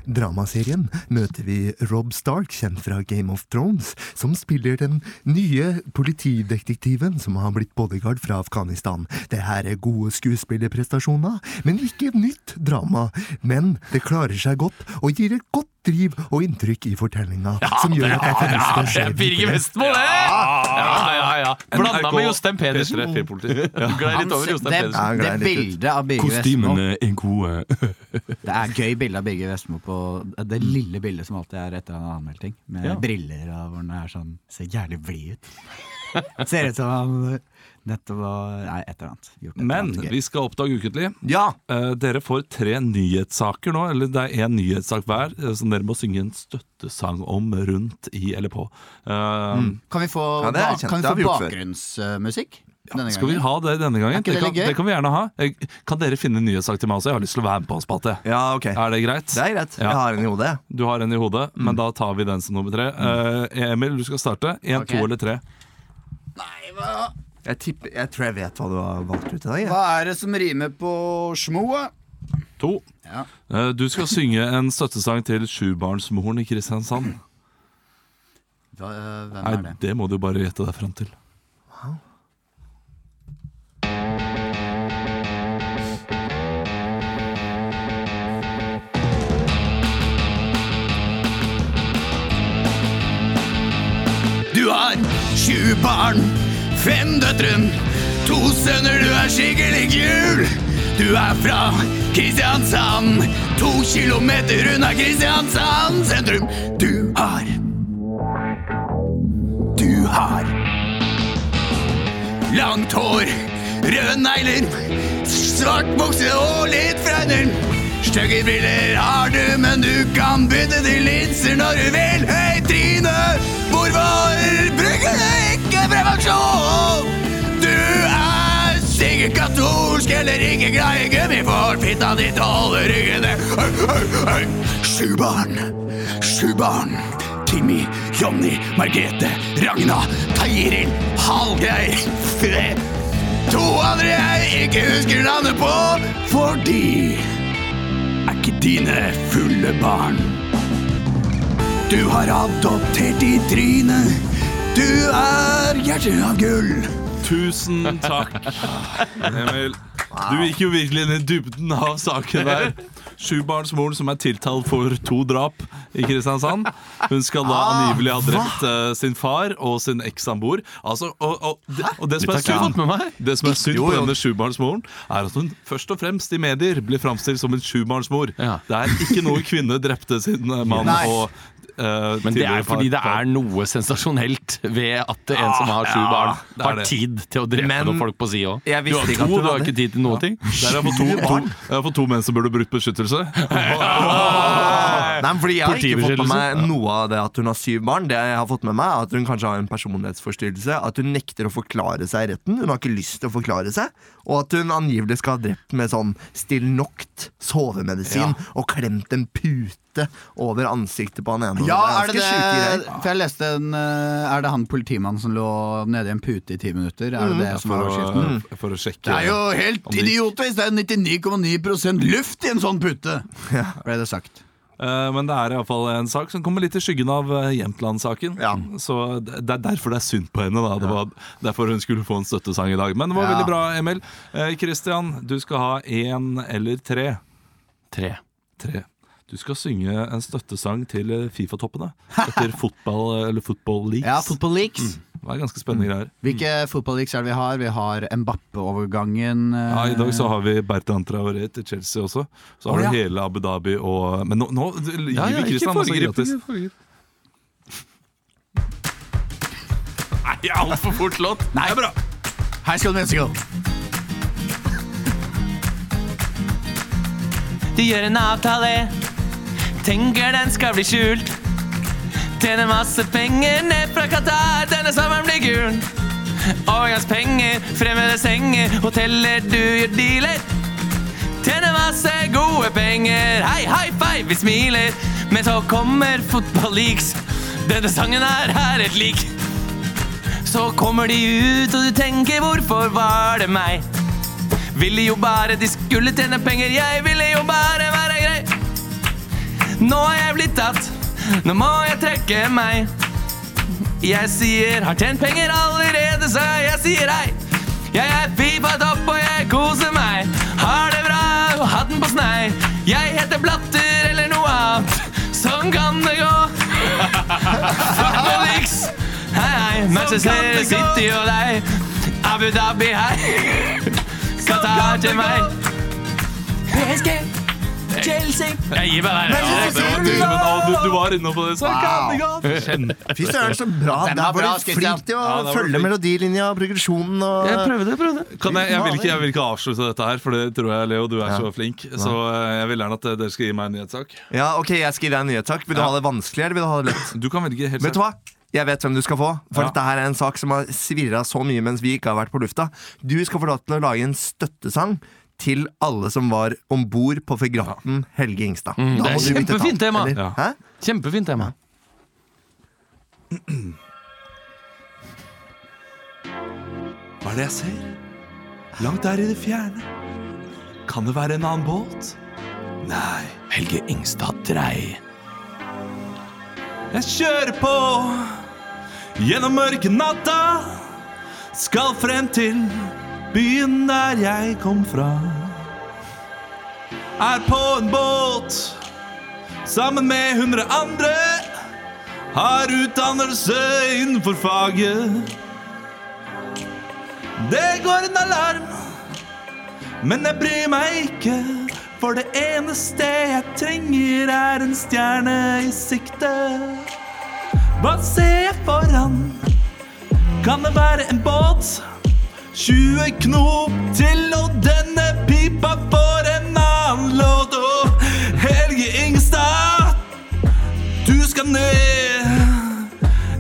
S4: dramaserien møter vi Rob Stark, kjent fra Game of Thrones, som spiller den nye politidetektiven som har blitt bodyguard fra Afghanistan. Det her er gode skuespillerprestasjoner, men ikke et nytt drama. Men det klarer seg godt og gir et godt driv og inntrykk i fortellinga, som gjør at jeg får lyst til å se
S3: Birger
S4: videre.
S3: Vestmo, det! Ja, ja, ja. Blanda med Jostein Pedersen.
S1: P3-filpoliti.
S3: Glei litt over Jostein
S2: det,
S3: Pedersen.
S4: Ja,
S2: det
S4: greit, litt ut.
S2: bildet av Birger Vestmo
S3: er gode.
S2: Det er gøy bilde av Birger Vestmo på det
S4: Mm.
S2: lille bildet som alltid er etter han har anmeldt ting. Med briller og hvor han er sånn Ser jævlig blid ut. Ser ut som han nettopp var Nei, et eller annet. Gjort et eller
S1: Men
S2: annet gøy.
S1: vi skal oppdage ukentlig.
S4: Ja!
S1: Eh, dere får tre nyhetssaker nå, eller det er én nyhetssak hver, eh, som dere må synge en støttesang om rundt i eller på. Eh,
S2: Mm. Kan vi få,
S4: Ja, det er
S2: ba-
S4: kjent.
S2: kan
S4: Det
S2: vi
S4: har vi
S2: få
S4: gjort før.
S2: bakgrunnsmusikk denne
S1: Skal vi
S2: gangen?
S1: ha det denne gangen?
S2: Er ikke
S1: Det
S2: det
S1: kan,
S2: litt gøy?
S1: det kan vi gjerne ha. Eh, Kan dere finne en nyhetssak til meg også? Jeg har lyst til å være med på en spate.
S4: Ja, ok.
S1: Er det greit?
S4: Det er greit.
S1: Ja.
S4: Jeg har en i hodet, jeg. Mm.
S1: Du har en i hodet, men da tar vi den som nummer tre. Eh, Emil, du skal starte. Én,
S2: Ok.
S1: to eller tre?
S4: Jeg, tipper, jeg tror jeg vet hva du har valgt ut i dag. Jeg.
S2: Hva er det som rimer på smoa?
S1: To.
S2: Ja.
S1: Eh, du skal synge en støttesang til sjubarnsmoren i Kristiansand.
S2: Hva, øh, Hvem er
S1: Nei,
S2: det?
S1: det må du bare gjette deg fram til.
S2: Du har sju barn, fem døtren, to sønner, du er skikkelig kul. Du er fra Kristiansand, to kilometer unna Kristiansand sentrum. Du har Du har langt hår, røde negler, svart bukse og litt fregner. Stygge briller har du, men du kan bytte til linser når du vil. Hei, Trine, hvorfor bruker du ikke prevensjon? Du er sikkert katolsk eller ikke glad i gummi, for fitta di tåler ikke det. Hei, hei, hei. Sju barn, sju barn. Timmy, Jonny, Margrethe, Ragna, Tairil, Hallgeir, Fred.
S4: To andre jeg ikke husker navnet på, for de er ikke dine fulle barn. Du har adoptert i trynet. Du er hjertet av gull.
S1: Tusen takk, Emil. Du gikk jo virkelig inn i dybden av saken der. Sjubarnsmoren som er tiltalt for to drap i Kristiansand. Hun skal
S4: Ah,
S1: da angivelig ha drept eh, sin far og sin ekssamboer. Altså, og, og, det, og det
S3: Dette
S1: som er
S3: har ikke jeg fått
S1: synd,
S3: med meg.
S1: det som er synd
S4: Jo,
S1: på
S4: jo.
S1: denne sjubarnsmoren, er at hun først og fremst i medier blir framstilt som en sjubarnsmor.
S3: Ja.
S1: Det er ikke noe kvinne drepte sin eh, mann
S2: Nei.
S1: og eh,
S3: Men det
S1: tidligere
S3: er fordi det
S1: far.
S3: er noe sensasjonelt ved at en som har sju
S1: ja,
S3: barn,
S1: det er
S3: har
S1: det.
S3: tid til å drepe
S4: Men-
S3: noen folk på si òg. Du
S4: Jeg visste
S3: har
S4: ikke at
S3: to,
S4: hun
S3: du har
S4: hadde-
S3: ikke tid til noen ting.
S1: Der er jeg for to, to,
S4: barn.
S1: jeg er for to menn som burde brukt beskyttelse.
S4: Ah, Nei, men fordi Jeg har ikke fått med
S3: Politibeskyttelse.
S4: meg noe av det at hun har syv barn. Det jeg har fått med meg er At hun kanskje har en personlighetsforstyrrelse. At hun nekter å forklare seg i retten. Hun har ikke lyst til å forklare seg. Og at hun angivelig skal ha drept med sånn Stilnoct sovemedisin og klemt en pute over ansiktet på han ene.
S2: Ja, er
S4: Det
S2: det
S4: ganske sjuke greier.
S2: det? For jeg leste en eh, Er det han politimannen som lå nede i en pute i ti minutter? Er det det som var
S1: Mm. For å, mm.
S2: overskriften?
S1: for å sjekke
S2: Det er jo helt idiotisk! Det er 99,9 luft i en sånn pute! Ble det sagt.
S1: Eh, Men det er iallfall en sak som kommer litt i skyggen av eh, Jämtland-saken.
S4: Ja.
S1: Så det det er derfor det er synd på henne. Da. Det var derfor hun skulle få en støttesang i dag. Men det var
S2: Ja.
S1: veldig bra, Emil. Eh, Christian, du skal ha én eller tre.
S3: Tre.
S1: Tre. Du skal synge en støttesang til eh, Fifa-toppene. Etter fotball eller football leaks. Mm.
S2: Ja, Football Leaks.
S1: det er ganske spennende greier.
S2: Hvilke Football Leaks er det vi har? Vi har Mbappe-overgangen. eh,
S1: Ja, I dag så har vi Bertrand Traoré til Chelsea også. Så har
S4: Å, ja.
S1: du hele Abu Dhabi og Men nå, nå gir
S3: Ja, ja,
S1: vi
S3: ikke
S1: Christian masse
S3: foregrip.
S1: gratis.
S3: ikke foregrip.
S5: Nei, altfor fort låt.
S2: Nei, bra. High School Musical.
S6: Du gjør en avtale Tenker den skal bli skjult Tjener masse penger ned fra Qatar Denne sommeren blir gul Overgangspenger, fremmede senger Hoteller, du gjør dealer Tjener masse gode penger Hei, high five, vi smiler Men så kommer fotball-leaks Denne sangen her er et lik Så kommer de ut og du tenker Hvorfor var det meg? Ville jo bare de skulle tjene penger, jeg ville jo bare være grei. Nå er jeg blitt tatt, nå må jeg trekke meg. Jeg sier har tjent penger allerede, så jeg sier hei. Jeg er pipa topp og jeg koser meg. Har det bra og hatten på snei. Jeg heter Blatter eller noe annet. Sånn kan det gå. Football X. Hei, hei. Manchester City og deg. Abu Dhabi, hei. Qatar til meg. PSG, Chelsea Jeg gir meg der. ja.
S1: Det var
S4: sånn!
S1: du, men ah, du, du var inne på det. Så
S4: Fy søren, så bra.
S2: Den
S4: Der
S2: var
S4: var
S2: bra,
S4: du
S2: Christian.
S4: flink til å
S1: Ja, der var du
S4: følge
S1: flink.
S4: melodilinja og progresjonen. Og...
S5: Jeg prøvde, jeg prøvde.
S1: Kan jeg, jeg, vil ikke, jeg vil ikke avslutte dette her, for det tror jeg, Leo, du er så flink. Så eh, jeg vil gjerne at eh, dere skal gi meg en nyhetssak.
S4: Ja, ok, jeg skal gi deg en nyhetssak. Vil du ha det vanskelig, eller vil du ha det lett?
S1: Du kan velge helt
S4: Vet du hva? Jeg vet hvem du skal få, for
S1: Ja.
S4: dette her er en sak som har svirra så mye mens vi ikke har vært på lufta. Du skal få lov til å lage en støttesang til alle som var om bord på fregatten Helge Ingstad. Da
S1: Mm.
S5: det er
S4: må du bytte
S5: kjempefint
S4: navn,
S5: tema.
S4: eller?
S1: Ja.
S4: Hæ?
S5: Kjempefint tema.
S1: Hva er det jeg ser? Langt der i det fjerne. Kan det være en annen båt? Nei.
S5: Helge Ingstad Drei.
S1: Jeg kjører på gjennom mørke natta. Skal frem til byen der jeg kom fra. Er på en båt sammen med hundre andre. Har utdannelse innenfor faget. Det går en alarm, men jeg bryr meg ikke. For det eneste jeg trenger, er en stjerne i sikte. Hva ser jeg foran? Kan det være en båt? 20 knop til, og denne pipa får en annen låt. Og Helge Ingstad, du skal ned.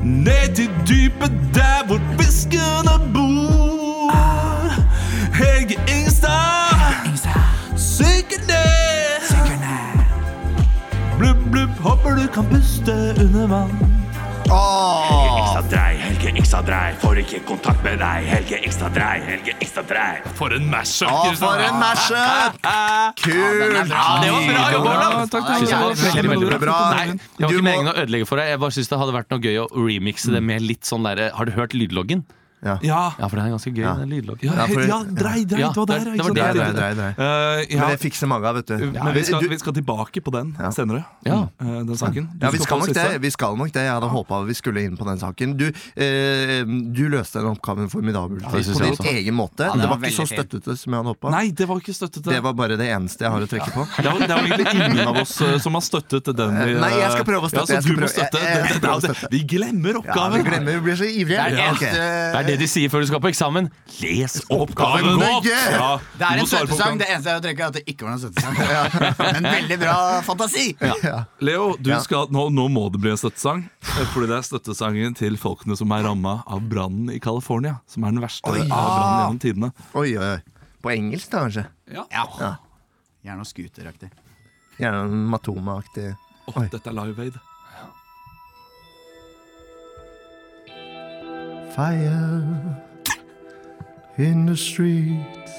S1: Ned til dypet der hvor fiskene bor Helge Ingstad Synker ned Blubb, blubb, håper du kan puste under vann
S4: Åh,
S1: Helge
S7: Helge ekstra drei, får ikke kontakt med deg. Helge ekstra drei, Helge ekstra drei.
S1: For en mashup!
S4: Å,
S1: Kristian.
S4: for en mashup! Kult!
S2: det var bra jobba, Olav.
S1: takk,
S2: Ja,
S1: takk.
S2: det er
S1: Veldig,
S3: veldig,
S1: veldig
S4: bra.
S3: Nei, jeg var ikke meningen å ødelegge for deg. Jeg bare synes det hadde vært noe gøy å remixe det med litt sånn der Har du hørt lydloggen?
S1: Ja,
S3: Ja, for det er ganske gøy, den lydloggen.
S1: ja,
S4: Ja, for-
S1: he- ja drei, drei,
S3: Ja,
S1: det var der.
S3: det-
S1: ikke
S3: det var
S1: sant?
S3: der,
S4: der, der, der.
S1: Eh, ja,
S4: Men det fikser mange av, vet du.
S1: men vi skal,
S4: du
S1: vi skal tilbake på den senere.
S3: Ja.
S1: Eh, den saken. Du
S4: ja, vi
S1: få
S4: skal, nok
S1: siste.
S4: det, vi skal nok det. Jeg hadde håpa vi skulle inn på den saken. Du, eh, du løste den oppgaven formidabelt
S3: det synes
S4: på
S3: jeg
S4: din
S3: også.
S4: egen måte.
S2: det
S4: det
S2: var
S4: var ikke
S2: veldig fint.
S4: så støttete som jeg hadde håpa.
S1: Nei, det var ikke støttete.
S4: Det var bare det eneste jeg har å trekke på.
S1: Det er, jo- det er jo egentlig ingen av oss eh, som har støttet den. vi, eh,
S4: Nei, jeg skal prøve å støtte,
S1: Ja,
S4: jeg
S1: så du
S4: skal
S1: må
S4: prøve.
S1: støtte.
S4: Jeg- jeg skal
S1: Det-
S4: prøve å
S1: det-
S4: støtte.
S1: Vi glemmer
S4: Ja, vi
S1: oppgaven!
S4: glemmer, vi blir så ivrige.
S3: Det er
S4: Ok.
S3: Det er det de sier før du skal på eksamen. Les oppgaven!
S1: Oppgaven
S4: Norge!
S1: godt! Ja,
S2: Det
S1: du
S2: er
S1: må
S2: en
S1: svare på
S2: støttesang.
S1: oppgaven.
S2: Det eneste jeg trekker, er at det ikke var noen støttesang. Men veldig bra fantasi!
S1: Leo, du skal, nå, nå må det bli en støttesang. eh, Fordi det er støttesangen til folkene som er ramma av brannen i California. Som er den verste av brannen gjennom tidene.
S4: Oi, oi, oi. På engelsk, da, kanskje?
S2: Ja. Gjerne noe scooteraktig.
S4: Gjerne en Matoma-aktig.
S1: Åh, dette er Live Aid.
S4: Fire in the streets.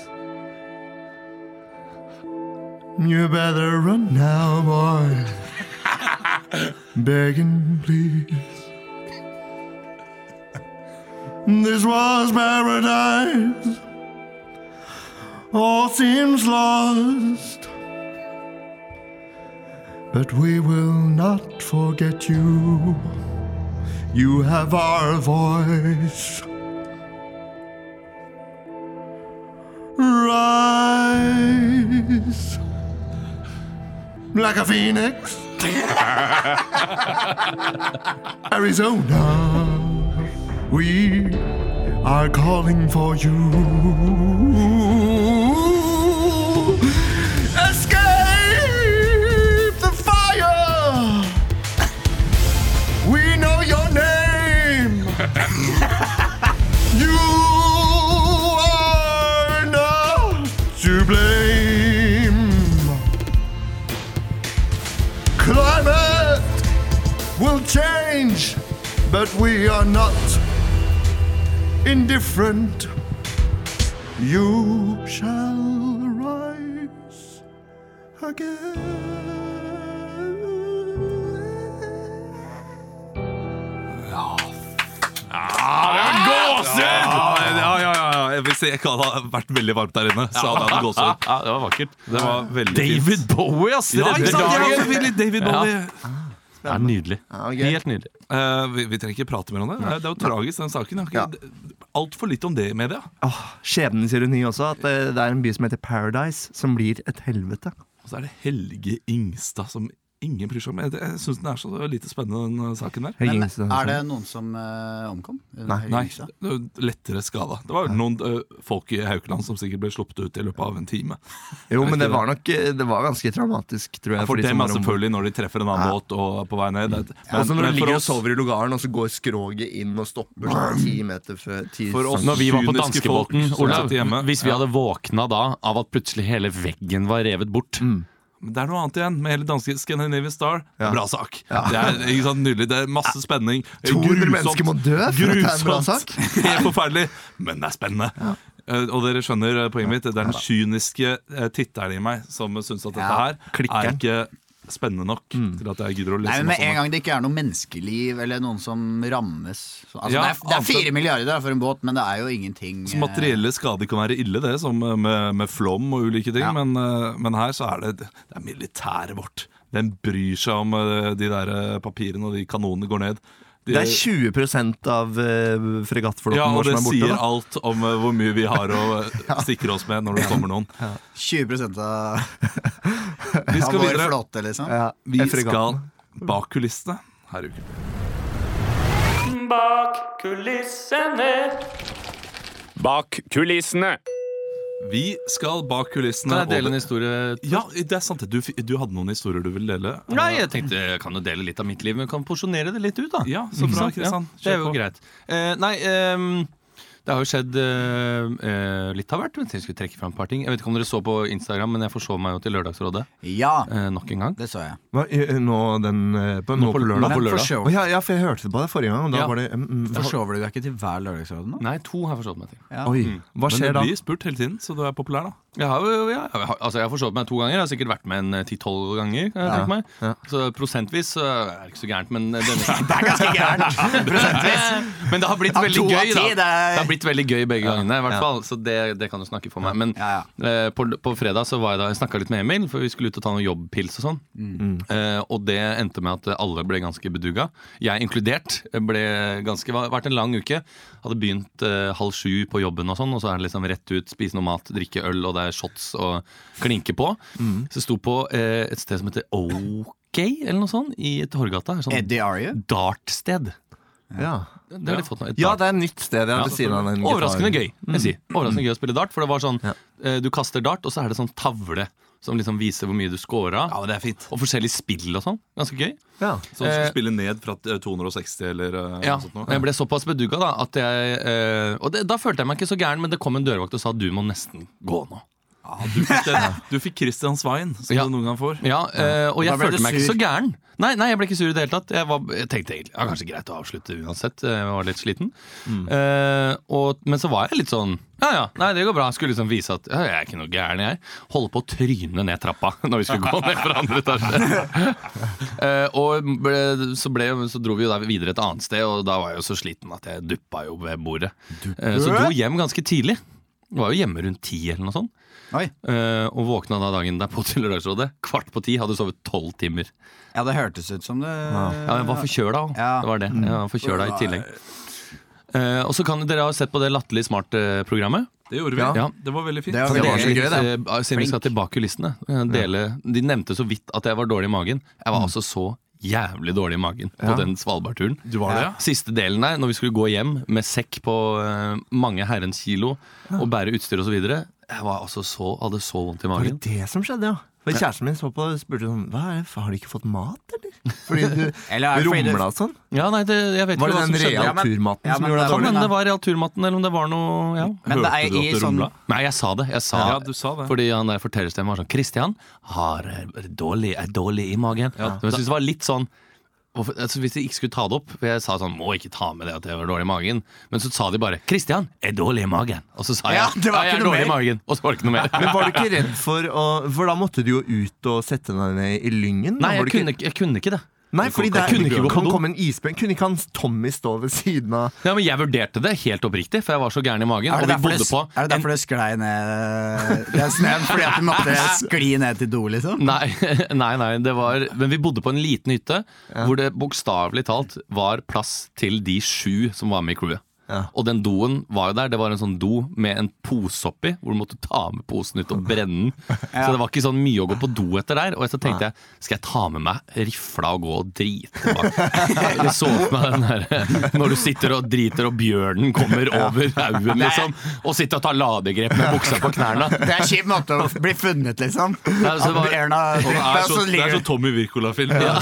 S4: You better run now, boy. Begging, please. This was paradise. All seems lost. But we will not forget you. You have our voice. Rise like a phoenix. Arizona, we are calling for you. Escape the fire. We know your name. you are not to blame. Climate will change, but we are not indifferent. You shall rise again.
S1: Ja, ja, ja, ja. Hvis jeg ikke hadde vært veldig varmt der inne, så hadde jeg hatt gåsehud.
S3: Ja, det var vakkert.
S1: Det var veldig
S3: David
S1: fint.
S3: Bowie, ass!
S1: Ja,
S3: redder
S1: ikke sant? Jeg var
S3: dagen.
S1: forvirret. David Bowie.
S4: Ah,
S3: Det er nydelig. Helt nydelig.
S1: Eh, vi, vi trenger ikke prate mer om det. Det er jo tragisk, den saken. Jeg har ikke- Altfor litt om det i media.
S4: Åh, skjebnens ironi også, at eh, det er en by som heter Paradise, som blir et helvete.
S1: Og så er det Helge Ingstad som ingen bryr seg om. Jeg, jeg syns den er så lite spennende, den eh, saken der.
S4: Helge
S2: Men
S4: Ingstad.
S2: er det noen som eh, omkom? Nei.
S1: Nei, det var lettere skada. Det var noen eh, folk i Haukeland som sikkert ble sluppet ut i løpet av en time.
S4: Jo, men det var nok eh, Det var ganske traumatisk, tror jeg.
S1: For
S4: de
S1: dem
S4: som
S1: er
S4: var om-
S1: selvfølgelig når de treffer en annen båt og er på vei ned. Det,
S4: Ja, altså når
S1: men
S4: du
S1: for
S4: ligger og
S1: oss-
S4: sover i lugaren, og så går skroget inn og stopper sånn ti meter før ti sånn
S1: For oss-
S3: Når vi var på
S1: Kyniske folk
S3: danskebåten,
S1: som
S3: Olav,
S1: satt hjemme.
S3: hvis vi hadde våkna da av at plutselig hele veggen var revet bort
S2: Mm.
S1: Men Det er noe annet igjen med hele danske Scandinavian Star. Bra sak. Det er ikke sant, Nydelig. Det er masse spenning.
S4: 200 mennesker må dø for at det er en bra
S1: Grusomt. Helt forferdelig, men det er spennende. Eh, og dere skjønner eh, poenget mitt. Det er den kyniske eh, titteren i meg som syns at dette
S2: Ja,
S1: her er ikke spennende nok
S4: Mm.
S1: til sånn at jeg gidder å
S2: Nei,
S1: lese
S2: men Med
S1: masse
S2: en
S1: om det.
S2: gang det ikke er noe menneskeliv eller noen som rammes så, altså, det,
S1: Ja,
S2: er, det er
S1: annet-
S2: fire milliarder for en båt, men det er jo ingenting
S1: Så materielle skader kan være ille, det, som eh, med, med flom og ulike ting. Men, eh, men her så er det, det er militæret vårt. Hvem bryr seg om eh, de der eh, papirene og de kanonene går ned? De-
S4: Det er 20 av eh, fregattflåten
S1: Ja, og
S4: vår
S1: det
S4: som er borte.
S1: sier
S4: Da.
S1: alt om eh, hvor mye vi har å eh, sikre oss med når det kommer noen.
S2: 20 eh, av,
S1: Vi
S2: av
S1: skal
S2: vår
S1: videre.
S2: flåte, liksom.
S4: Ja,
S1: Vi
S4: en fregatt.
S1: skal bak kulissene her i uken.
S6: Bak kulissene.
S8: Bak kulissene.
S1: Vi skal bak kulissene.
S3: Kan jeg dele en
S1: og-
S3: historie?
S1: Ja, det er sant. det. Du, f- du hadde noen historier du ville dele.
S3: Nei, jeg tenkte jeg kan jo dele litt av mitt liv, men kan porsjonere det litt ut, da.
S1: Ja, så
S3: Ikke
S1: bra,
S3: sant?
S1: Kristian.
S3: Ja, det er
S1: Kjør
S3: jo
S1: på.
S3: greit. Eh, nei, ehm, Det har jo skjedd eh, eh, litt av hvert. men Jeg skulle trekke frem et par ting Jeg vet ikke om dere så på Instagram, men jeg forsov meg jo til Lørdagsrådet
S2: Ja,
S3: eh, nok en gang.
S2: det så jeg.
S4: Hva, i- nå den eh, på, nå på lørdag?
S3: Nå på
S2: For
S3: lørdag.
S4: Å, ja, ja, for jeg hørte det på deg forrige gang. Og da
S3: Ja.
S4: var det, mm, mm, det var-
S2: Forsover du deg ikke til hver lørdagsråd nå?
S3: Nei, to har jeg forsovet meg til. Mm.
S4: Oi, hva
S1: Mm. Men
S4: skjer
S1: du
S4: da?
S1: blir spurt hele tiden, så du er populær, da.
S3: Jeg har, jo- ja, jeg har, altså jeg har forsovet meg to ganger. Jeg har sikkert vært med en eh, 10-12 ganger. Kan jeg tenke meg. Så prosentvis så er det ikke så gærent, men det, det er ganske gærent! men det har blitt
S2: Ja,
S3: veldig
S2: to av
S3: gøy, da.
S2: ti, det
S3: Det
S2: er-
S3: har blitt veldig gøy begge gangene, i hvert fall. Så det, det kan du snakke for meg. Men
S2: Ja,
S3: eh, på, på fredag så var jeg da jeg snakka litt med Emil, for vi skulle ut og ta noen jobbpils og sånn.
S4: Mm.
S1: Mm.
S3: Eh, og det endte med at alle ble ganske beduga. Jeg inkludert. ble ganske, var- vært en lang uke. Hadde begynt eh, halv sju på jobben, og sånn, og så er det liksom rett ut, spise noe mat, drikke øl, og det er shots og klinke på. Så jeg sto på eh, et sted som heter OK, eller noe sånt, i Torgata.
S4: Eh,
S3: Et sånt
S2: Eddie Arie?
S3: dartsted.
S4: Ja.
S3: Det har de fått nå. et
S4: ja,
S3: dart-
S4: det er et nytt sted jeg
S3: ja.
S4: ved siden av den gitaren. Mm.
S3: Overraskende gøy, jeg sier. Overraskende gøy å spille dart, for det var sånn eh, Du kaster dart, og så er det sånn tavle som liksom viser hvor mye du scora.
S1: men det er fint.
S3: Og forskjellige spill og sånn. Ganske gøy.
S4: Ja.
S1: Så du
S3: Eh,
S1: skal spille ned fra eh, 260 eller eh,
S3: Ja,
S1: noe sånt
S3: og Jeg ble såpass bedugga da at jeg eh, Og det, da følte jeg meg ikke så gæren, men det kom en dørvakt og sa du må nesten gå nå.
S1: noe. Du fikk Christian Svein, som
S3: Ja.
S1: du noen gang får.
S3: Ja, eh, Og jeg
S2: ble du
S3: følte meg ikke
S2: sur.
S3: så gæren. Nei, nei, jeg ble ikke sur i det hele tatt. Jeg, var, jeg tenkte egentlig ja, kanskje greit å avslutte uansett. eh, Jeg var litt sliten.
S2: Mm.
S3: Eh, og, men så var jeg litt sånn ja ja, nei det går bra. Skulle liksom vise at ja, jeg er ikke noe gæren, jeg. Holde på å tryne ned trappa når vi skulle gå ned fra andre etasje. Eh, og ble, så, ble, så dro vi jo da videre et annet sted, og da var jeg jo så sliten at jeg duppa jo ved bordet. Eh, så dro hjem ganske tidlig. Var jo hjemme rundt ti eller noe sånt.
S2: Oi.
S3: Eh, og våkna da dagen derpå til Lørdagsrådet. Kvart på ti hadde sovet tolv timer.
S2: Ja, det hørtes ut som det
S3: Ja, jeg var forkjøla òg.
S2: Ja. Mm.
S3: Det var det. Jeg var forkjøla i tillegg. Eh, og så kan Dere har sett på det Latterlig smart-programmet.
S1: Det gjorde vi.
S3: Ja.
S1: Det var veldig fint.
S2: Det var veldig
S4: var så gøy, det.
S3: Siden vi skal til bak kulissene. eh, Dele, de nevnte så vidt at jeg var dårlig i magen. Jeg
S4: Mm.
S3: var altså så jævlig dårlig i magen på den Svalbardturen.
S1: Du var det, ja?
S3: Siste delen der, når vi skulle gå hjem med sekk på eh, mange herrens kilo og bære utstyr osv. Jeg var altså så, hadde så vondt i
S4: Var det
S3: magen.
S4: det som skjedde, ja? For Kjæresten min så på og spurte sånn Hva er det, har du ikke fått mat, eller? Fordi du
S2: Eller er det fordi du-
S4: rumla og sånn.
S3: Ja, nei, det, jeg vet
S4: Var
S3: ikke
S4: det
S3: hva
S4: den
S3: som skjedde.
S2: Ja, men-
S4: realturmaten
S2: ja,
S4: som
S2: men
S4: gjorde
S2: det var-
S4: deg dårlig?
S3: Kan hende
S2: Nei.
S3: det var realturmatten, eller om det var noe ja.
S2: Men det
S1: Hørte
S2: er
S1: du
S2: i
S1: at det
S2: sånn
S1: rumla?
S3: Nei, jeg sa det. Jeg sa,
S1: Ja, du sa det.
S3: Fordi han der fortellerstemmen var sånn Kristian har er dårlig, er dårlig i magen. Så jeg synes det var litt sånn hvorfor- altså Hvis de ikke skulle ta det opp For jeg sa sånn Må ikke ta med det at jeg var dårlig i magen. Men så sa de bare 'Kristian er dårlig i magen'. Og så sa jeg
S2: Ja,
S3: ja,
S2: det var
S3: jeg
S2: ikke
S3: er
S2: noe
S3: dårlig i
S2: mer.
S3: magen. Og så var det ikke noe mer.
S4: Men var du ikke redd for å For da måtte du jo ut og sette deg ned i lyngen? da
S3: Nei,
S4: var
S3: jeg
S4: du ikke-
S3: kunne, ikke- jeg kunne ikke det.
S4: Nei, fordi det
S3: jeg kunne ikke gå på
S4: kan
S3: do.
S4: komme en isbjørn. Kunne ikke han Tommy stå ved siden av
S3: Ja, men jeg vurderte det helt oppriktig, for jeg var så gæren i magen.
S2: Er
S3: Og
S2: det,
S3: vi
S2: derfor
S3: bodde
S2: det,
S3: på
S2: er det derfor det sklei ned eh, den snøen? Fordi at du måtte skli ned til do, liksom?
S3: Nei, nei, nei det var, men vi bodde på en liten hytte hvor det bokstavelig talt var plass til de sju som var med i crewet. Og den doen var jo der. Det var en sånn do med en pose oppi, hvor du måtte ta med posen ut og brenne den. Så det var ikke sånn mye å gå på do etter der. Og så tenkte jeg, skal jeg ta med meg rifla og gå og drite bak? Jeg så for meg den der når du sitter og driter og bjørnen kommer over haugen, liksom. Og sitter og tar ladegrep med buksa på knærne.
S2: Det er en kjip måte å bli funnet, liksom.
S3: Ja, så
S2: At
S3: det var-
S2: bjørna
S1: Og
S2: dripper,
S1: Det er
S2: og
S1: så,
S2: så
S1: det er
S2: ligger
S1: så Tommy Wirkola-film. Ja.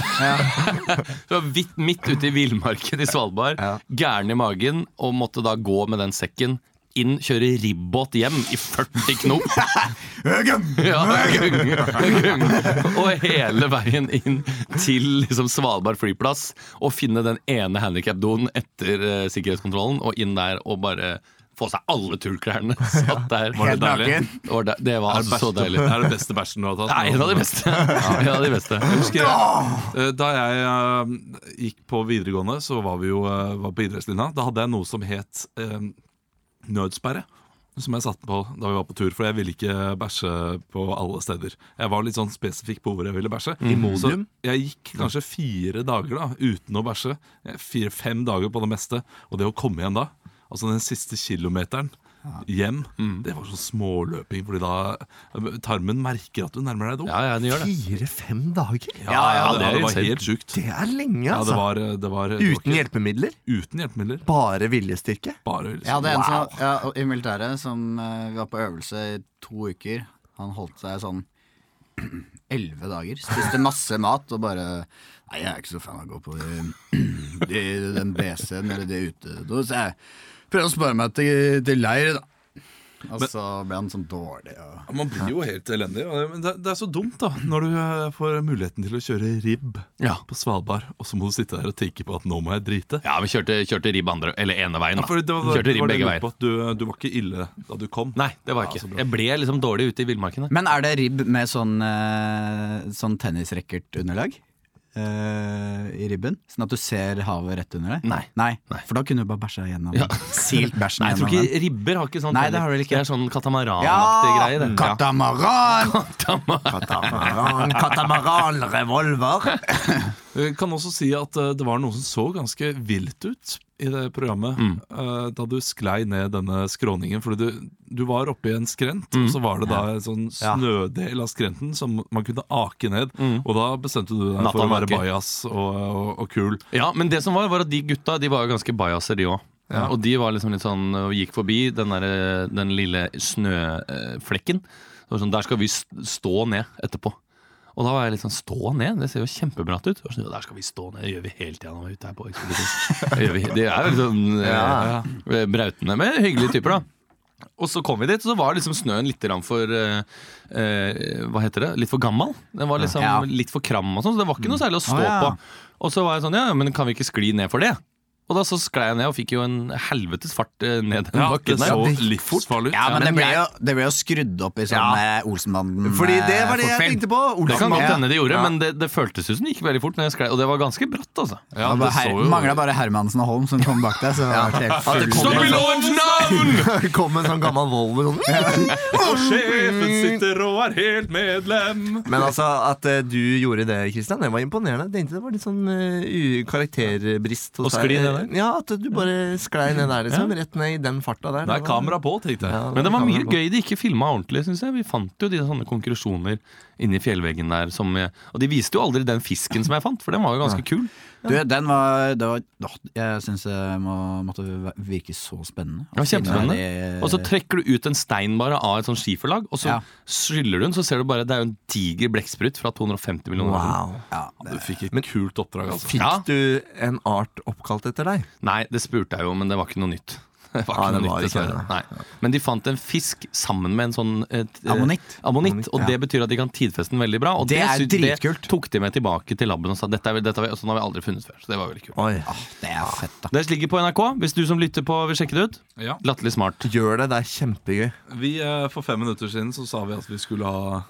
S3: Så jeg var vidt, midt ute i villmarken i Svalbard, gæren i magen, og måtte da gå med den sekken inn, kjøre ribbåt hjem i 40 knop. Ja, gung, gung. Og hele veien inn til liksom Svalbard flyplass og finne den ene handikapdoen etter eh, sikkerhetskontrollen, og inn der og bare få seg alle turklærne. Satt der. Var
S2: Helt
S3: det deilig?
S2: naken.
S3: Det var, de- det var altså så
S1: Det
S3: deilig.
S1: er det bæsjen du har tatt.
S3: Det er en av de beste. En av de beste.
S1: husker jeg, eh, Da jeg eh, gikk på videregående, så var vi jo eh, var på idrettslinja. Da hadde jeg noe som het eh, nødsperre. Som jeg satt på da vi var på tur, for jeg ville ikke bæsje på alle steder. Jeg var litt sånn spesifikk på hvor jeg ville bæsje. Så jeg gikk kanskje fire dager da uten å bæsje. Fire-fem dager på det meste. Og det å komme igjen da, altså den siste kilometeren hjem,
S3: Mm.
S1: det var sånn småløping, fordi da tarmen merker at du nærmer deg do.
S3: Ja, ja, den gjør det.
S4: fire-fem dager?
S1: Ja,
S3: det
S1: det,
S3: er
S1: det var
S3: insane.
S1: helt sjukt.
S4: Det er lenge,
S1: Ja, det
S4: altså.
S1: var, eh, det var, det var
S4: Uten
S1: ikke-
S4: hjelpemidler?
S1: uten hjelpemidler.
S4: Bare viljestyrke?
S1: Bare
S2: Jeg hadde en
S1: sånn
S2: som, ja, og i militæret som eh, vi var på øvelse i to uker. Han holdt seg sånn elleve dager. Spiste masse mat og bare Nei, jeg er ikke så fan av å gå på de, de, den BC-en eller det utedo, så jeg Prøv å spørre meg til, til leir, da. Og så ble han sånn dårlig. Og...
S1: Man blir jo helt elendig. og det- Men det, det er så dumt, da, når du eh, får muligheten til å kjøre ribb på Svalbard, og så må du sitte der og tenke på at nå må jeg drite.
S3: Ja, vi kjørte, kjørte ribb andre, eller ene veien, da.
S1: For det var,
S3: kjørte
S1: det
S3: ribb
S1: var det jeg
S3: begge
S1: lurte
S3: veier.
S1: på, at du, du var ikke ille da du kom.
S3: Nei, det var jeg
S1: Ja, så
S3: ikke.
S1: bra.
S3: Jeg ble liksom dårlig ute i villmarkene.
S2: Men er det ribb med sånn, eh, sånn tennisrackert-underlag? eh, I ribben? Sånn at du ser havet rett under deg?
S3: Nei.
S2: For da kunne du bare bæsja gjennom. Silt bæsjen
S3: Nei, jeg
S2: gjennom
S3: tror ikke Ribber har ikke sånn
S2: Nei, det har
S3: heller.
S2: de ikke.
S3: Det er sånn
S2: den.
S3: katamaranaktig greie.
S2: Ja!
S3: det. Ja.
S2: Katamaran!
S4: Katamaran, katamaran, revolver.
S1: Vi kan også si at eh, det var noe som så ganske vilt ut i det programmet.
S3: Mm.
S1: eh, Da du sklei ned denne skråningen. Fordi du, du var oppe i en skrent,
S3: Mm.
S1: og så var det da en sånn snødel av skrenten som man kunne ake ned.
S3: Mm.
S1: Og da bestemte du deg for å
S3: Nathan
S1: være
S3: Ake.
S1: bajas og, og, og kul.
S3: ja, Men det som var, var at de gutta de var jo ganske bajaser, de òg. Og de var liksom litt sånn, og gikk forbi den, der, den lille snøflekken. Det var sånn, Der skal vi s- stå ned etterpå. Og da var jeg litt sånn Stå ned? Det ser jo kjempebrat ut. Og sånn, «Ja, der skal vi stå ned. Det gjør vi hele tida når vi er ute her på ekspedisjon. Det gjør vi- Det er jo litt sånn eh, eh, brautende, men hyggelige typer, da. Og så kom vi dit, og så var liksom snøen litt grann for eh, eh, Hva heter det? Litt for gammal. Den var liksom
S2: Ja.
S3: litt for kram, og sånn, så det var ikke noe særlig å stå
S2: Å, ja.
S3: på. Og så var jeg sånn, ja, men kan vi ikke skli ned for det? Og da så sklei jeg ned og fikk jo en helvetes fart eh, ned den
S1: Ja, det
S3: bakken der.
S1: så livsfarlig ut.
S2: Ja, men,
S3: Ja, men
S2: det, ble
S3: jeg-
S2: jo, det ble jo skrudd opp i sånn eh, Olsenbanden
S4: Fordi det var det
S2: eh,
S4: jeg
S2: forfilm.
S4: tenkte på.
S3: Det kan
S4: Olsen,
S3: godt
S2: Ja.
S3: hende det gjorde,
S2: Ja.
S3: men det, det føltes ut som det gikk veldig fort. Når jeg sklei, og det var ganske bratt, altså.
S1: Ja,
S2: det
S1: det så jo-
S2: mangla bare Hermansen og Holm som kom bak deg. Så var det helt full.
S4: Stopp i
S3: lovens navn!
S4: kom en sånn gammel Volvo sånn.
S1: Og sjefen sitter og er helt medlem!
S4: Men altså, at eh, du gjorde det, Kristian, det var imponerende. Jeg tenkte det var litt sånn eh, u- karakterbrist hos
S3: Å skli
S4: deg.
S3: ned
S4: Ja, at du bare sklei ned der, liksom. Rett ned i den farta der.
S1: Det er kamera på, tenkte jeg.
S4: Ja,
S3: Men det var mye
S4: kamera på.
S3: gøy de ikke filma ordentlig, syns jeg. Vi fant jo de sånne konklusjoner inni fjellveggen der som jeg, Og de viste jo aldri den fisken som jeg fant, for den var jo ganske kul.
S2: Du, den var, det var åh, Jeg syns det må, måtte virke så spennende.
S3: Det var kjempespennende.
S2: Siden det-
S3: Og så trekker du ut en stein bare av et sånt skiferlag, og så
S2: Ja.
S3: skyller du den, så ser du bare det er jo en diger blekksprut fra 250 millioner år siden.
S4: Wow.
S1: Du fikk et kult oppdrag, altså.
S4: Fikk
S3: Ja.
S4: du en art oppkalt etter deg?
S3: Nei, det spurte jeg jo, men det var ikke noe nytt. Det var
S4: Ja,
S3: ikke
S4: det
S3: noe
S4: var
S3: nytt,
S4: ikke det.
S3: dessverre. Nei. Men de fant en fisk sammen med en sånn et, eh,
S2: Ammonitt.
S3: ammonitt, Og det betyr at de kan tidfeste den veldig bra. Og
S2: Det er
S3: sy-
S2: dritkult.
S3: Det tok de med tilbake til laben og sa dette er, vel- dette er, vel- sånn har vi aldri funnet før. Så det var veldig kult.
S4: Oi.
S2: Åh, Det er fett, da.
S3: Det ligger på NRK hvis du som lytter på vil sjekke det ut.
S1: Ja.
S3: Latterlig smart.
S4: Gjør det, det er kjempegøy.
S1: Vi, eh, for fem minutter siden så sa vi at vi skulle ha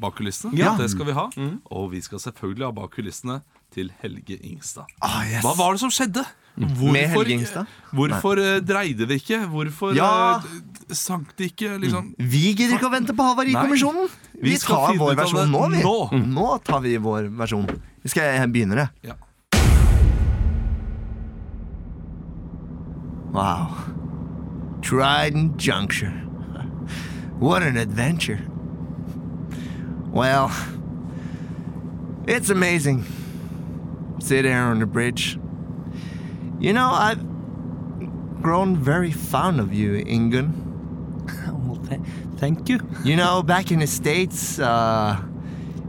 S1: bak kulissene. Det skal vi ha.
S4: Mm.
S1: Og vi skal selvfølgelig ha bak kulissene til Helge Ingstad. Hva var det som skjedde? Hvorfor,
S4: Ah, Mm. Med Helge Ingstad?
S1: Hvorfor eh, dreide det ikke? Hvorfor
S4: Ja. Mm.
S1: eh, d- sank det ikke? Liksom?
S4: Vi gidder ikke å vente på Havarikommisjonen! Vi,
S1: Vi skal
S4: tar
S1: finne ut
S4: vår
S1: av det
S4: versjon nå, vi.
S1: nå.
S4: Nå tar vi vår versjon. Skal jeg begynne, det?
S1: Ja.
S4: Wow. Trident Juncture. What an adventure. Well, it's amazing. Sit here on the bridge. You know, I've grown very fond of you, Ingun.
S3: Thank you.
S4: You know, back in the States, uh,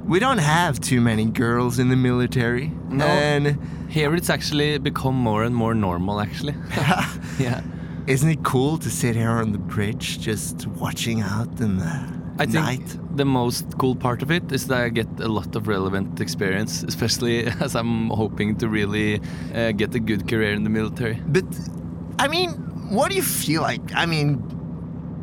S4: we don't have too many girls in the military.
S3: No.
S4: And
S3: Here it's actually become more and more normal, actually. yeah.
S4: isn't it cool to sit here on the bridge just watching out in the
S3: I think
S4: night?
S3: the most cool part of it is that I get a lot of relevant experience, especially as I'm hoping to really uh, get a good career in the military.
S4: But, I mean, what do you feel like? I mean,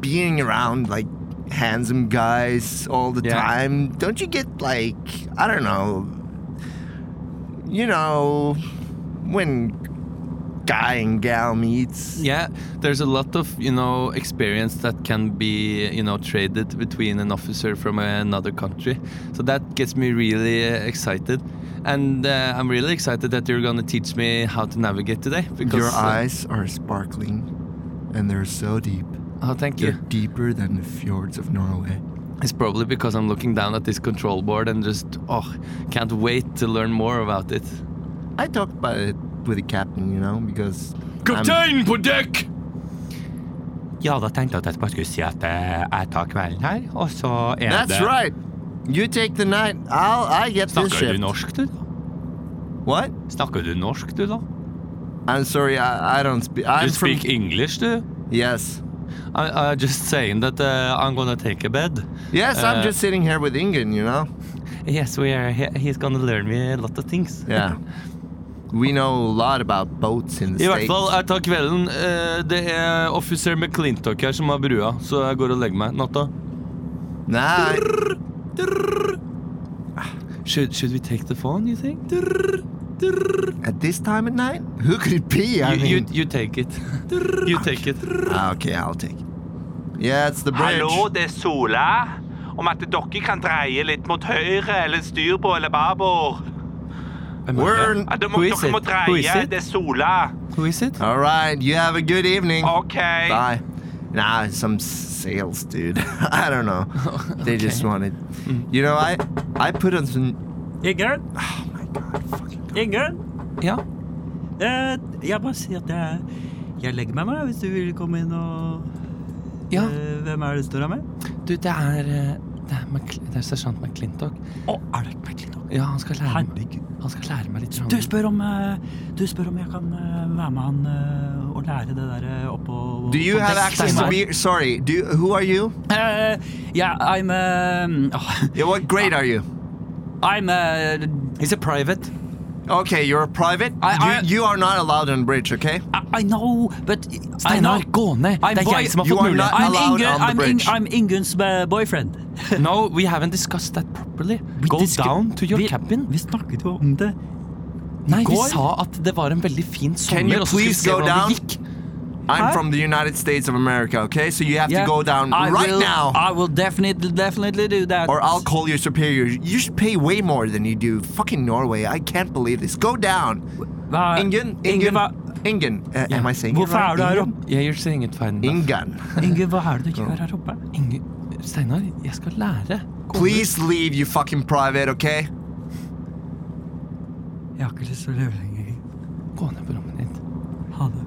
S4: being around like handsome guys all the
S3: Yeah.
S4: time, don't you get like, I don't know, you know, when guy and gal meets?
S3: Yeah, there's a lot of you know experience that can be you know traded between an officer from another country. So that gets me really uh, excited, and uh, I'm really excited that you're gonna teach me how to navigate today. Because
S4: Your
S3: uh,
S4: eyes are sparkling, and they're so deep.
S3: oh, thank
S4: They're
S3: you.
S4: deeper than the fjords of Norway.
S3: It's probably because I'm looking down at this control board and just oh, can't wait to learn more about it.
S4: I talked about it with the captain, you know, because
S8: Kaptein på dekk!
S6: Ja, da tenkte jeg at jeg bare skulle si at eh, jeg tar kvelden her, og så er
S4: That's
S6: det
S4: right. You take the night. I'll I get this
S6: Snakker
S4: shift.
S6: du norsk, du, da?
S4: What?
S6: Snakker du norsk, du, da?
S4: I'm sorry, I, I don't speak I'm
S5: You
S4: from-
S5: speak English, du?
S4: Yes.
S5: I, I just saying that uh, I'm gonna take a bed.
S4: Yes, I'm
S3: Eh.
S5: Uh,
S4: just sitting here with Ingen, you know?
S5: Yes, we are. He, he's gonna learn me a lot of things.
S4: Yeah. We know a lot about boats in the
S5: I
S4: States.
S5: hvert fall, jeg tar kvelden. Eh, Det er offiser McClintock her som har brua, så jeg går og legger meg. Natta.
S4: Nei.
S5: Should, should we take the phone, you think?
S4: At this time at night? Who could it be? I
S5: You, you,
S4: mean,
S5: you take it. You take it.
S4: Ah, okay, I'll take it. Yeah, it's the bridge.
S1: det er Sola. Om at dere kan dreie litt mot høyre eller styrbord eller babord.
S5: Hvem er
S4: We're...
S5: det?
S1: Ja, dere må-
S5: Who is
S1: dere må
S5: it? Who is
S1: dreie.
S5: it?
S1: Det er Sola.
S5: Who is it?
S4: All right, you have a good evening.
S1: OK.
S4: Bye. Nah, some sales dude. I don't know. They just wanted...
S9: Hmm.
S4: You know, I I put on some...
S9: Ingrid? Ingrid?
S5: Ja.
S9: Eh, jeg bare sier at jeg, jeg legger meg med, hvis du vil komme inn og
S5: ja.
S9: eh, Hvem er det du står her med?
S5: Du, det er eh, Det er, Mc- det er sersjant McClintock.
S9: Å, er det McClintock?
S5: Ja, han skal lære meg,
S9: Herregud.
S5: han skal lære meg litt
S9: Du
S5: sånn
S9: spør om, eh, du spør om jeg kan eh, være med han eh, og lære det der eh, oppå
S4: Do you have access to beer? Sorry, do you, who are you?
S9: Eh, yeah, I'm
S2: um,
S9: eh,
S2: oh.
S9: åh,
S4: Yeah, what grade are you?
S9: I'm eh,
S5: He's a private.
S4: Okay, you're a private.
S9: I- I-
S4: you, you are not allowed on bridge, okay?
S9: I, I know, but I
S5: Steinar,
S9: know.
S5: gå ned!
S9: I'm
S5: Oh, Det er
S9: boy-
S5: jeg som har
S4: You
S5: fått
S4: are not
S5: mulighet.
S9: I'm,
S4: allowed
S9: Ingun,
S4: on the
S9: I'm, Ing-
S4: bridge.
S9: I'm Ingun's eh, boyfriend.
S5: No, we haven't discussed that properly. Go
S9: discu-
S5: down to your
S9: vi,
S5: cabin.
S9: Vi snakket jo om det.
S5: Nei, vi
S9: går-
S5: sa at det var en veldig fin
S4: Can you
S5: sommer, og så skal vi
S4: please
S5: se
S4: go
S5: hvordan
S4: down?
S5: det gikk.
S4: I'm from the United States of America, okay? So you have
S9: Yeah.
S4: to go down
S9: I
S4: right
S9: will,
S4: now,
S9: I will definitely, definitely do that.
S4: or I'll call your superior. You should pay way more than you do. Fucking Norway, I can't believe this. Go down,
S9: Hva-
S4: Ingen.
S9: Inge,
S4: Ingen.
S9: hva,
S4: Ingen. Uh, Am I saying it
S9: hvorfor
S4: right?
S9: er du her
S4: Ingen?
S9: oppe?
S5: Yeah, you're saying it fine. enough.
S4: Ingen.
S9: Inge, hva er det du gjør her oppe?
S5: Inge, Steinar, jeg skal lære. Gå
S4: Please leave, you fucking private, okay?
S9: Jeg har ikke lyst til å leve lenger.
S5: ned- Gå ned på rommet ditt.
S9: Ha det.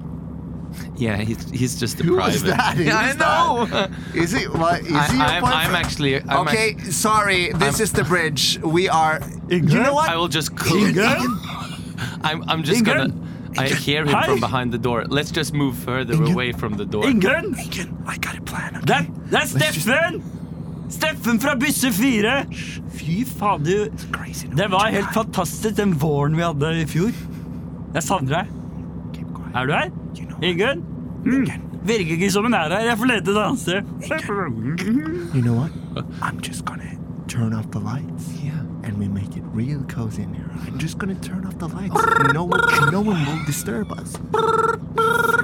S5: Yeah, he's, he's just a
S4: Who is that? Who
S5: I
S4: is that?
S5: know!
S4: Is he? What, is
S5: I,
S4: he your
S5: I'm, I'm
S4: boyfriend?
S5: actually... I'm
S4: okay, sorry. This is the bridge. We are. You know
S5: act- I
S4: what?
S5: will just... close. I'm, I'm just
S9: Inge?
S5: gonna... I hear him
S9: Hi.
S5: from behind the door. Let's just move further away from the door.
S9: Ingunn!
S4: I got a plan.
S9: Det, er- det er Steffen! Steffen fra Bysse 4! Fy faen, du. Det var helt fantastisk den våren vi hadde i fjor. Jeg savner deg. Er du her? Ingunn? Mm. Virker ikke som hun er her. Jeg får lete et annet sted.
S4: You know what? I'm just gonna turn off the lights.
S5: Yeah.
S4: And we make it real cozy in here. I'm just gonna turn off the lights. No one, no one will disturb us.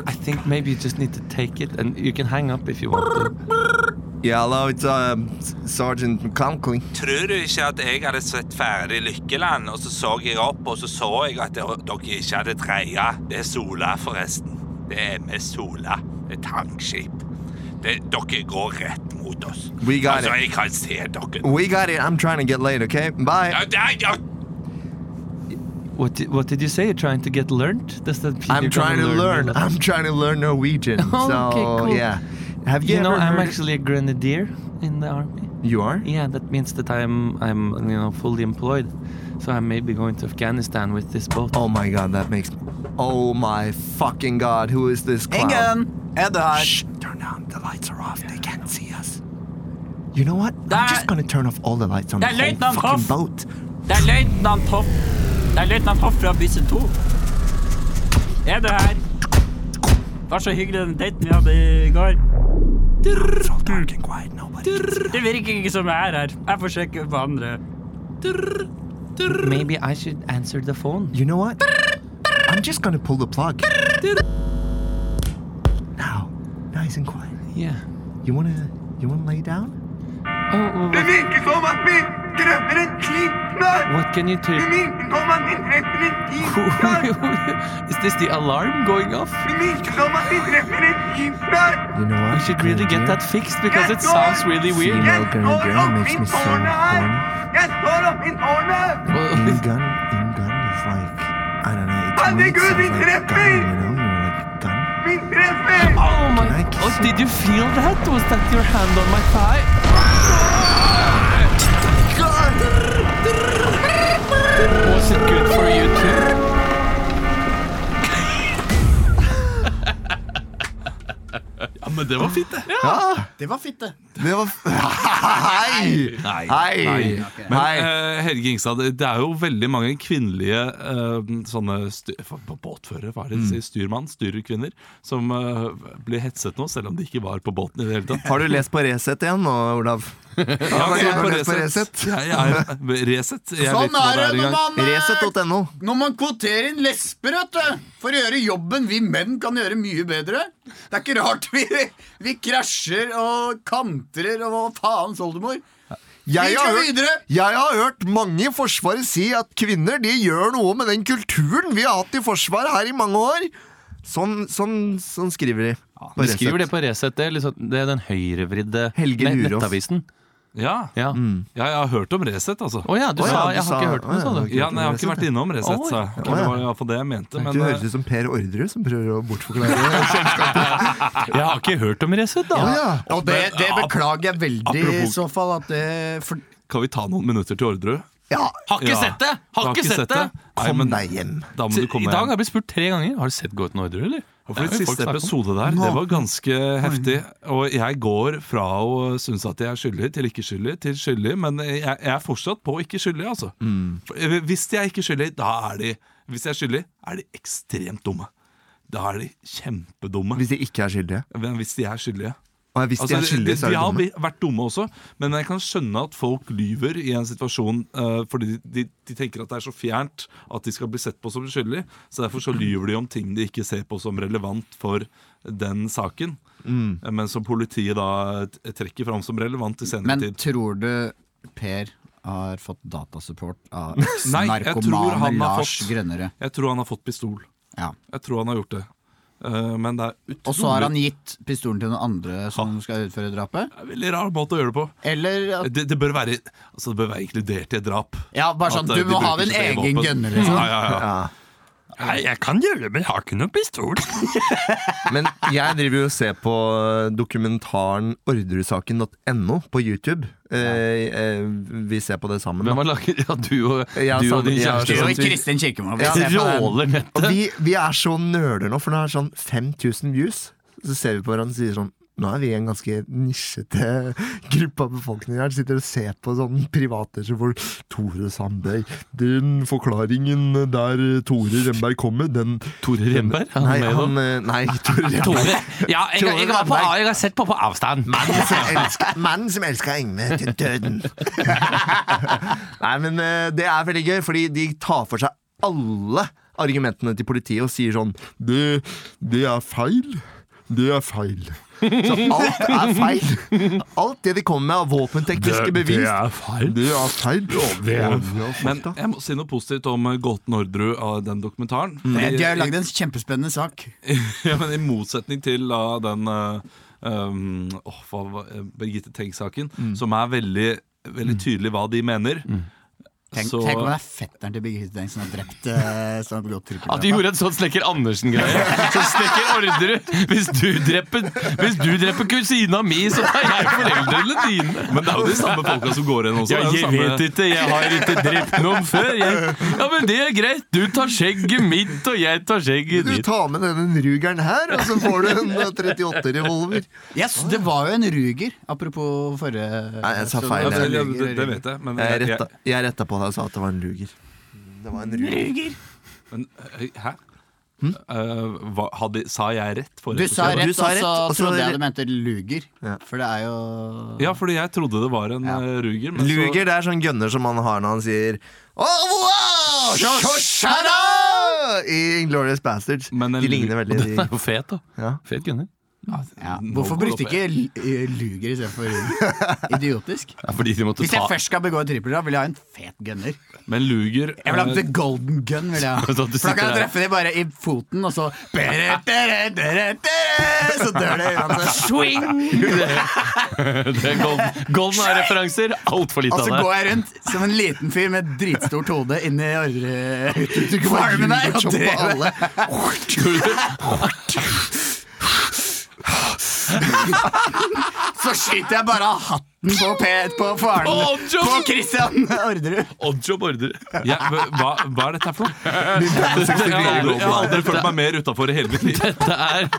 S5: I think maybe you just need to take it and you can hang up if you want to.
S4: Yeah, hello. It's um, Sergeant McConkley.
S1: Tror du ikke at jeg hadde sett ferdig Lykkeland, og så så jeg opp, og så så jeg at dere dere ikke hadde dreia? Det er Sola, forresten. Det er med Sola. Det er tankskip. Det, dere går rett mot oss.
S4: We got
S1: altså,
S4: it.
S1: jeg kan se dere.
S4: We got it. I'm trying to get laid. Okay. Bye.
S1: Ja, ja, ja.
S5: What did, what did you say? You're trying to get learned? Does that mean
S4: I'm
S5: you're gonna
S4: trying
S5: me
S4: to learn.
S5: lessons?
S4: I'm trying to learn Norwegian.
S5: Okay,
S4: So
S5: cool.
S4: yeah. Have you,
S5: You know,
S4: ever
S5: I'm
S4: heard-
S5: actually a grenadier in the army.
S4: You are.
S5: Yeah, that means that I'm I'm you know fully employed, so I may be going to Afghanistan with this boat.
S4: Oh my god, that makes. Oh my fucking god, who is this clown?
S10: Ingen! Er du her?
S4: Shh, turn down. The lights are off. They can't see us. You know what? I'm just gonna turn off all the lights on the
S9: That
S4: whole
S9: light on
S4: fucking
S9: off.
S4: boat.
S9: Det er løytnant Hoff. Det er løytnant Hoff fra Bysse 2. Er du her? Det var så hyggelig den daten vi hadde i går.
S4: It's all dark and quiet. Nobody. can see.
S9: Det virker ikke som jeg er her. Jeg får sjekke på andre.
S5: Maybe I should answer the phone.
S4: You know what? I'm just gonna pull the plug. Now, nice and quiet.
S5: Yeah.
S4: You wanna, you wanna lay down?
S5: Oh, well, what, what can you do? Is this the alarm going off?
S4: You know what?
S5: We should really get that fixed because it sounds really weird.
S4: Female grenadier makes me so horny.
S5: Well,
S4: In gun, in gun is like I don't know. It to me, it sounds like gun, you know, you're like gun.
S5: oh my!
S4: Can I kiss
S5: Oh,
S4: you?
S5: did you feel that? Was that your hand on my thigh? Was it good for you too?
S1: det var fint, det.
S2: Ah!
S10: Det var fitte.
S4: Det var Hei!
S1: Nei.
S4: Hei!
S1: Men
S4: Hei.
S1: eh, Helge Ingstad, det er jo veldig mange kvinnelige eh, sånne sty- f- båtførere, hva er
S4: Mm.
S1: det de sier, styrmann, styrerkvinner, som eh, blir hetset nå, selv om de ikke var på båten i det hele tatt.
S4: Har du lest på Resett igjen nå, Olav?
S1: Ja,
S4: Har du
S1: jeg er på
S4: lest på
S1: Resett.
S4: Resett?
S1: Jeg er Resett. Jeg vet
S10: Sånn
S1: ikke hva
S10: er det
S1: engang.
S10: når man, eh,
S4: Resett.no.
S10: når man kvoterer inn lesber, vet du. For å gjøre jobben vi menn kan gjøre mye bedre. Det er ikke rart vi, vi krasjer og kantrer og hva faens oldemor. Vi
S4: Jeg har,
S10: skal
S4: hørt,
S10: videre.
S4: jeg har hørt mange i Forsvaret si at kvinner de gjør noe med den kulturen vi har hatt i Forsvaret her i mange år. Sånn, sånn, sånn skriver de. på
S3: De
S4: Resett.
S3: skriver det på Resett. Det er, liksom, det er den høyrevridde
S4: Helge
S3: nett-
S4: Lurås.
S3: nettavisen.
S1: Ja.
S3: Ja.
S1: ja, jeg har hørt om Resett, altså.
S3: Å ja, du
S4: Å ja,
S3: sa
S4: du
S3: Jeg har
S4: sa-
S3: ikke hørt på
S4: å
S3: det,
S4: ja,
S3: sa
S4: du har
S3: du.
S4: ikke
S1: Ja, nei, Jeg har ikke vært innom Resett,
S3: Oi.
S1: sa jeg. Og Det var i hvert fall det jeg mente.
S4: Du
S1: Men eh,
S4: høres ut som Per Orderud som prøver å bortforklare.
S3: Jeg har ikke hørt om Resett, da.
S4: Å ja.
S10: Og det, det beklager jeg veldig i
S1: apropos-
S10: så fall. At det, for,
S1: kan vi ta noen minutter til Orderud?
S4: ja,
S3: Har ikke
S1: Ja.
S3: sett det!
S1: Du
S3: Har ikke sett det!
S1: Nei,
S4: kom
S1: men
S4: deg hjem.
S1: da må
S3: Se,
S1: du komme
S3: I dag har
S1: hjem.
S3: jeg blitt spurt tre ganger. Har du sett Gå uten ordre, eller?
S1: For
S3: Det er jo
S1: den
S3: folk
S1: siste
S3: snakker om.
S1: episode der, det var ganske
S4: Mm.
S1: heftig. Og jeg går fra å synes at jeg er skyldig til ikke skyldig til skyldig, men jeg, jeg er fortsatt på ikke skyldig, altså.
S3: Mm.
S1: For Hvis de er ikke skyldig, da er de Hvis de er skyldig, er de ekstremt dumme. Da er de kjempedumme.
S4: Hvis de ikke er skyldige.
S1: Men hvis de er skyldige
S4: Og hvis de
S1: Altså,
S4: er skyldige, så er
S1: de
S4: de
S1: har
S4: dumme.
S1: bli- vært dumme også, men jeg kan skjønne at folk lyver i en situasjon eh, fordi de, de, de tenker at det er så fjernt at de skal bli sett på som skyldig. Så derfor så lyver de om ting de ikke ser på som relevant for den saken.
S4: Mm.
S1: Eh, Men som politiet da t- trekker fram som relevant i senere
S2: Men
S1: tid.
S2: tror du Per har fått datasupport av
S1: Nei, jeg tror
S2: narkomane
S1: han har
S2: Lars
S1: fått-
S2: Grønnere?
S1: Jeg tror han har fått pistol.
S2: Ja.
S1: Jeg tror han har gjort det. Eh, Men det er
S2: Og så har
S1: utrolig
S2: han gitt pistolen til noen andre som skal utføre drapet?
S1: det er en veldig rar måte å gjøre det på.
S2: Eller at
S1: Det, det, bør, være, altså det bør være inkludert i et drap.
S2: Ja, bare sånn,
S1: At, eh,
S2: du
S1: de
S2: må ha
S1: bruker
S2: en
S1: ikke det
S2: egen
S1: våpen.
S2: gunner, liksom.
S1: Ja, ja, ja.
S8: Nei, jeg kan gjøre det, men jeg har ikke noen pistol.
S4: Men jeg driver jo og ser på eh, dokumentaren ordresaken.no på YouTube. Eh, eh, vi ser på det sammen. da.
S3: Hvem har laget Ja, du og,
S4: Ja,
S3: du og din
S4: sammen- ja,
S3: kjæreste
S4: det
S3: som
S4: var
S2: Og Kristin Kirkemo. vi
S4: Ja,
S2: ser på den.
S3: råler
S4: Og
S3: nettet.
S4: vi, vi er så nøler nå, for nå er det sånn 5000 views. Så ser vi på hverandre og sier sånn Nå er vi en ganske nisjete gruppe av befolkningen her. Sitter og ser på sånn privater som får Tore Sandberg. Den forklaringen der Tore Remberg kom med, den
S3: Tore Remberg? er han
S4: Nei,
S3: med i det?
S4: han, eh, nei Tore Remberg.
S6: Ja, jeg, jeg, jeg, var på, jeg har sett på på avstand.
S4: Mannen som elsker, mannen som elsker Engme til døden. Nei, men eh, det er veldig gøy, fordi de tar for seg alle argumentene til politiet og sier sånn Det, det er feil. Det er feil. Så alt er feil. Alt det de kommer med av våpentekniske bevis,
S8: feil.
S4: det, er feil.
S8: det er-
S4: Å, fakta.
S1: Men jeg må si noe positivt om eh, Gåten Orderud av den dokumentaren.
S2: Mm. Nei, De
S1: I,
S2: har lagd en kjempespennende sak.
S1: ja, men I motsetning til da, den eh, um, åh, hva, var- eh, Birgitte Tengs-saken,
S2: Mm.
S1: som er veldig, veldig tydelig hva de mener.
S2: Tenk,
S1: Så-
S2: tenk om det er fetteren til Birgitte Tengs som har drept eh, som har begått
S3: At de gjorde en sånn Snekker Andersen-greie. Så Snekker Orderud hvis, du dreper- hvis du dreper kusina mi, så tar jeg foreldrene dine.
S1: Men det er jo de samme folka som går igjen også.
S3: Ja,
S1: det
S3: jeg
S1: er jo samme-
S3: vet ikke, jeg har ikke drept noen før. Jeg. Ja, men det er greit. Du tar skjegget mitt, og jeg tar skjegget
S4: Du
S3: ditt.
S4: tar med denne rugeren her, og så får du en eh, 38-revolver.
S2: Yes, det var jo en ruger, apropos forrige
S4: Nei, jeg sa
S2: så-
S4: feil.
S1: Ja,
S2: Ja,
S1: det, det, det, det vet jeg. Men,
S4: Jeg
S1: jeg,
S4: retta, jeg retta på deg og sa at det var en ruger. Det var en ruger.
S1: men eh, hæ? Eh, hva, hadde, sa jeg rett?
S2: Hm?
S1: forrige
S2: Du sa
S1: episode?
S2: rett,
S4: Du sa rett,
S2: og så
S4: og så-
S2: trodde jeg du mente luger.
S4: Ja.
S2: For det er jo
S1: Ja, fordi jeg trodde det var en
S2: Ja.
S1: eh, ruger. Men så-
S4: Luger, det er sånn gønner som han har når han sier «Åh, wow! Shoshara!» I Glorious Bastards.
S1: Men en
S4: De ligner veldig.
S3: Den er jo fet, da.
S4: Ja.
S3: Fet gunner.
S2: ja.
S1: Nå
S2: Hvorfor
S1: går det
S2: brukte
S1: opp
S2: ikke l- eh, luger istedenfor ruger? Idiotisk.
S3: Ja, fordi de måtte
S2: Hvis jeg
S3: ta
S2: først skal begå et trippeldrap, vil jeg ha en fet gunner.
S1: Men luger
S2: Jeg vil ha
S1: eh,
S2: The Golden Gun. vil jeg ha
S3: Sånn at du
S2: For da kan jeg
S3: sitter der.
S2: treffe dem bare i foten, og så bere, bere, bere, bere, Så dør det uansett.
S3: Det er golden, golden har referanser. Altfor
S2: Og
S3: lite
S4: Altså,
S2: så
S3: av
S2: går
S3: det.
S2: jeg rundt som en liten fyr med et dritstort hode inni ordrefarmen der og
S4: Choppe
S2: dreper
S4: alle.
S2: Så skyter jeg bare av hatten på P1 på faren
S3: På Oddjob!
S2: På Christian Orderud.
S3: Oddjob ordre.
S1: ja, hva, hva er dette her for noe?
S4: Nintendo
S1: Jeg har aldri, jeg
S4: 64
S1: har aldri følt meg mer utafor i hele mitt liv.
S3: Dette er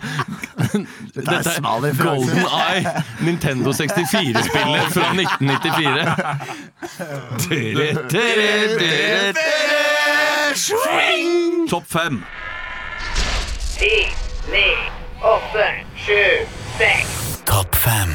S3: Dette er smal Golden Eye, Nintendo 64-spillet fra 1994. Tere, tere, tere, tere, swing!
S1: Topp fem.
S10: Ti, ni, åtte, sju, seks.
S1: Topp fem.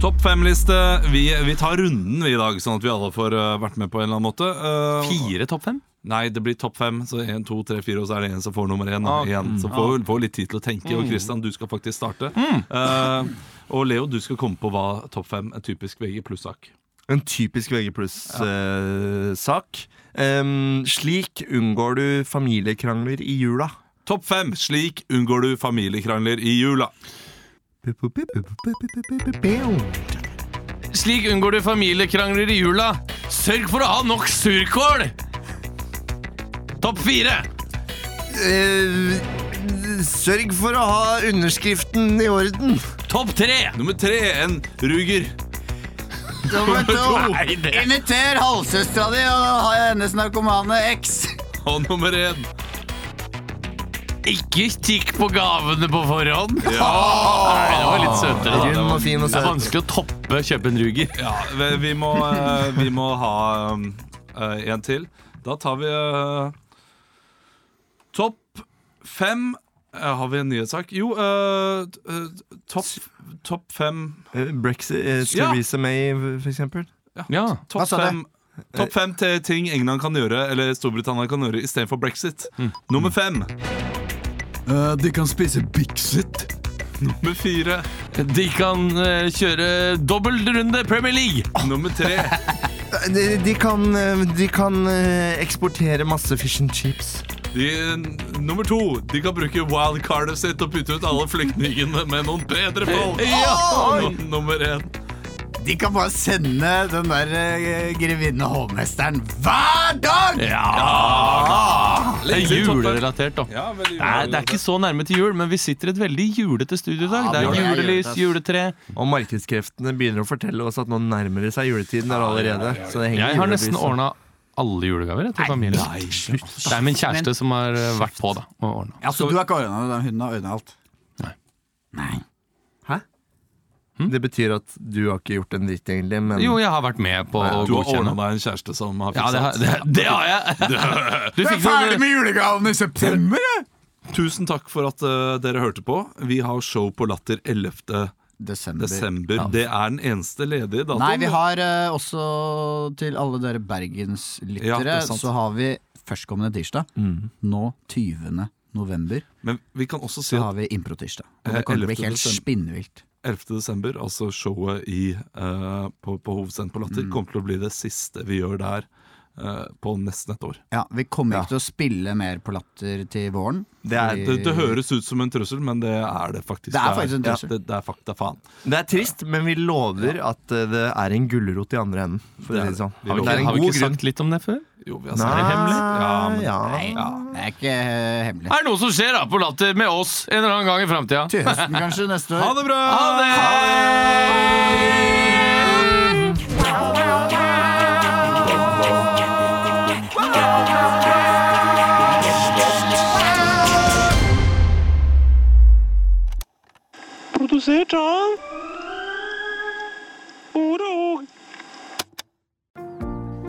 S1: Topp fem-liste. Vi, vi tar runden vi i dag, sånn at vi alle får eh, vært med på en eller annen måte. Eh,
S3: Fire topp fem?
S1: Nei, det blir topp fem. Så én, to, tre, fire, og så er det én som får nummer én.
S3: Ah,
S1: og én som
S3: mm.
S1: får, får litt tid til å tenke. Og
S3: Mm.
S1: Christian, du skal faktisk starte.
S3: Mm.
S1: Eh, og Leo, du skal komme på hva topp fem er typisk VG pluss-sak.
S4: En typisk VG eh. pluss-sak. slik unngår du familiekrangler i jula.
S1: Topp fem. Slik unngår du familiekrangler i jula.
S3: Slik unngår du familiekrangler i jula. Sørg for å ha nok surkål! Topp fire.
S4: Eh, sørg for å ha underskriften i orden.
S3: Topp tre.
S1: Nummer tre, en ruger.
S2: Nummer
S1: Nei,
S2: to.
S1: det-
S2: Inviter halvsøstera di og ha hennes narkomane eks.
S1: Og nummer én.
S3: Ikke kikk på gavene på forhånd.
S1: Ja.
S3: Nei, det var litt søtere. da.
S1: Rund og fin og
S3: Det er
S1: søt.
S3: vanskelig å toppe kjøpe en ruger.
S1: Ja, vi, vi, må, eh, vi må ha um, eh, en til. Da tar vi eh, topp fem. Eh, har vi en nyhetssak? Jo, eh, t- eh, topp topp fem
S4: Brexit, eh,
S1: Ja.
S4: Theresa May, for eksempel.
S1: Topp fem, topp fem til ting England kan gjøre, eller Storbritannia kan gjøre, istedenfor brexit. Nummer fem.
S3: Eh, de kan spise Bixit.
S1: Nummer fire.
S3: De kan eh, kjøre dobbeltrunde Premier League.
S1: Ah. Nummer tre.
S4: De, de kan, eh, de kan eh, eksportere masse fish and chips.
S1: De, nummer to. De kan bruke wildcardet sitt og putte ut alle flyktningene med noen bedre folk.
S2: Ja.
S1: Num- Nummer én.
S2: De kan bare sende den der eh, grevinne hovmesteren hver dag!
S3: Det er julerelatert, da. Nei, det er ikke så nærme til jul, men vi sitter i et veldig julete studio i dag. det er julelys, juletre.
S4: Og markedskreftene begynner å fortelle oss at nå nærmer det seg juletiden der allerede. Så det henger
S3: Jeg har
S4: julelys.
S3: nesten ordna alle julegaver jeg, til familien. det er min kjæreste som har eh, vært på, da. Og ordnet.
S2: Ja, Så du har ikke ordna det? Hun har ordna alt?
S4: Det betyr at du har ikke gjort en dritt, egentlig. Men
S3: Hm? Jo, jeg har vært med på å
S1: Du har
S3: godkjenne.
S1: ordna deg en kjæreste som har
S3: Ja, det har, det, det har jeg! Du fikk noen-
S2: julegavene i september,
S1: sånn, Tusen takk for at eh, dere hørte på. Vi har show på Latter 11.
S2: desember.
S1: desember. Det er den eneste ledige datoen.
S2: Nei, vi har eh, også til alle dere
S1: Ja, det
S2: bergenslyttere,
S1: er sant.
S2: så har vi førstkommende tirsdag. Nå 20. november.
S1: Men vi kan også si
S2: Så
S1: at-
S2: har vi improtirsdag. Og
S1: Eh,
S2: det kommer til å
S1: 11.
S2: bli helt
S1: desember.
S2: spinnvilt.
S1: 11. desember, altså showet i, eh, på, på Hovedscenen på Latter,
S2: Mm.
S1: kommer til å bli det siste vi gjør der eh, på nesten et år.
S2: Ja, Vi kommer ikke til å spille mer på Latter til våren.
S1: Det, er,
S2: Vi-
S1: det, det høres ut som en trussel, men det er det faktisk.
S2: Det er faktisk en
S1: ja,
S2: trussel.
S1: det, det er fakta faen.
S4: Det er trist, men vi lover at eh, det er en gulrot i andre enden. For
S1: Det
S4: å
S1: er
S4: si det sånn.
S1: det. Vi lover.
S4: Det er en
S3: Har vi
S4: god
S3: ikke
S4: grunn.
S3: sagt litt om det før?
S1: Jo, vi
S4: Nei,
S3: Ja, men-
S4: ja.
S2: Det er ikke eh, hemmelig.
S3: Er det noe som skjer da på Latter med oss en eller annen gang i framtida?
S2: Til høsten kanskje, neste år.
S1: Ha det bra!
S10: Produsert av Ordet og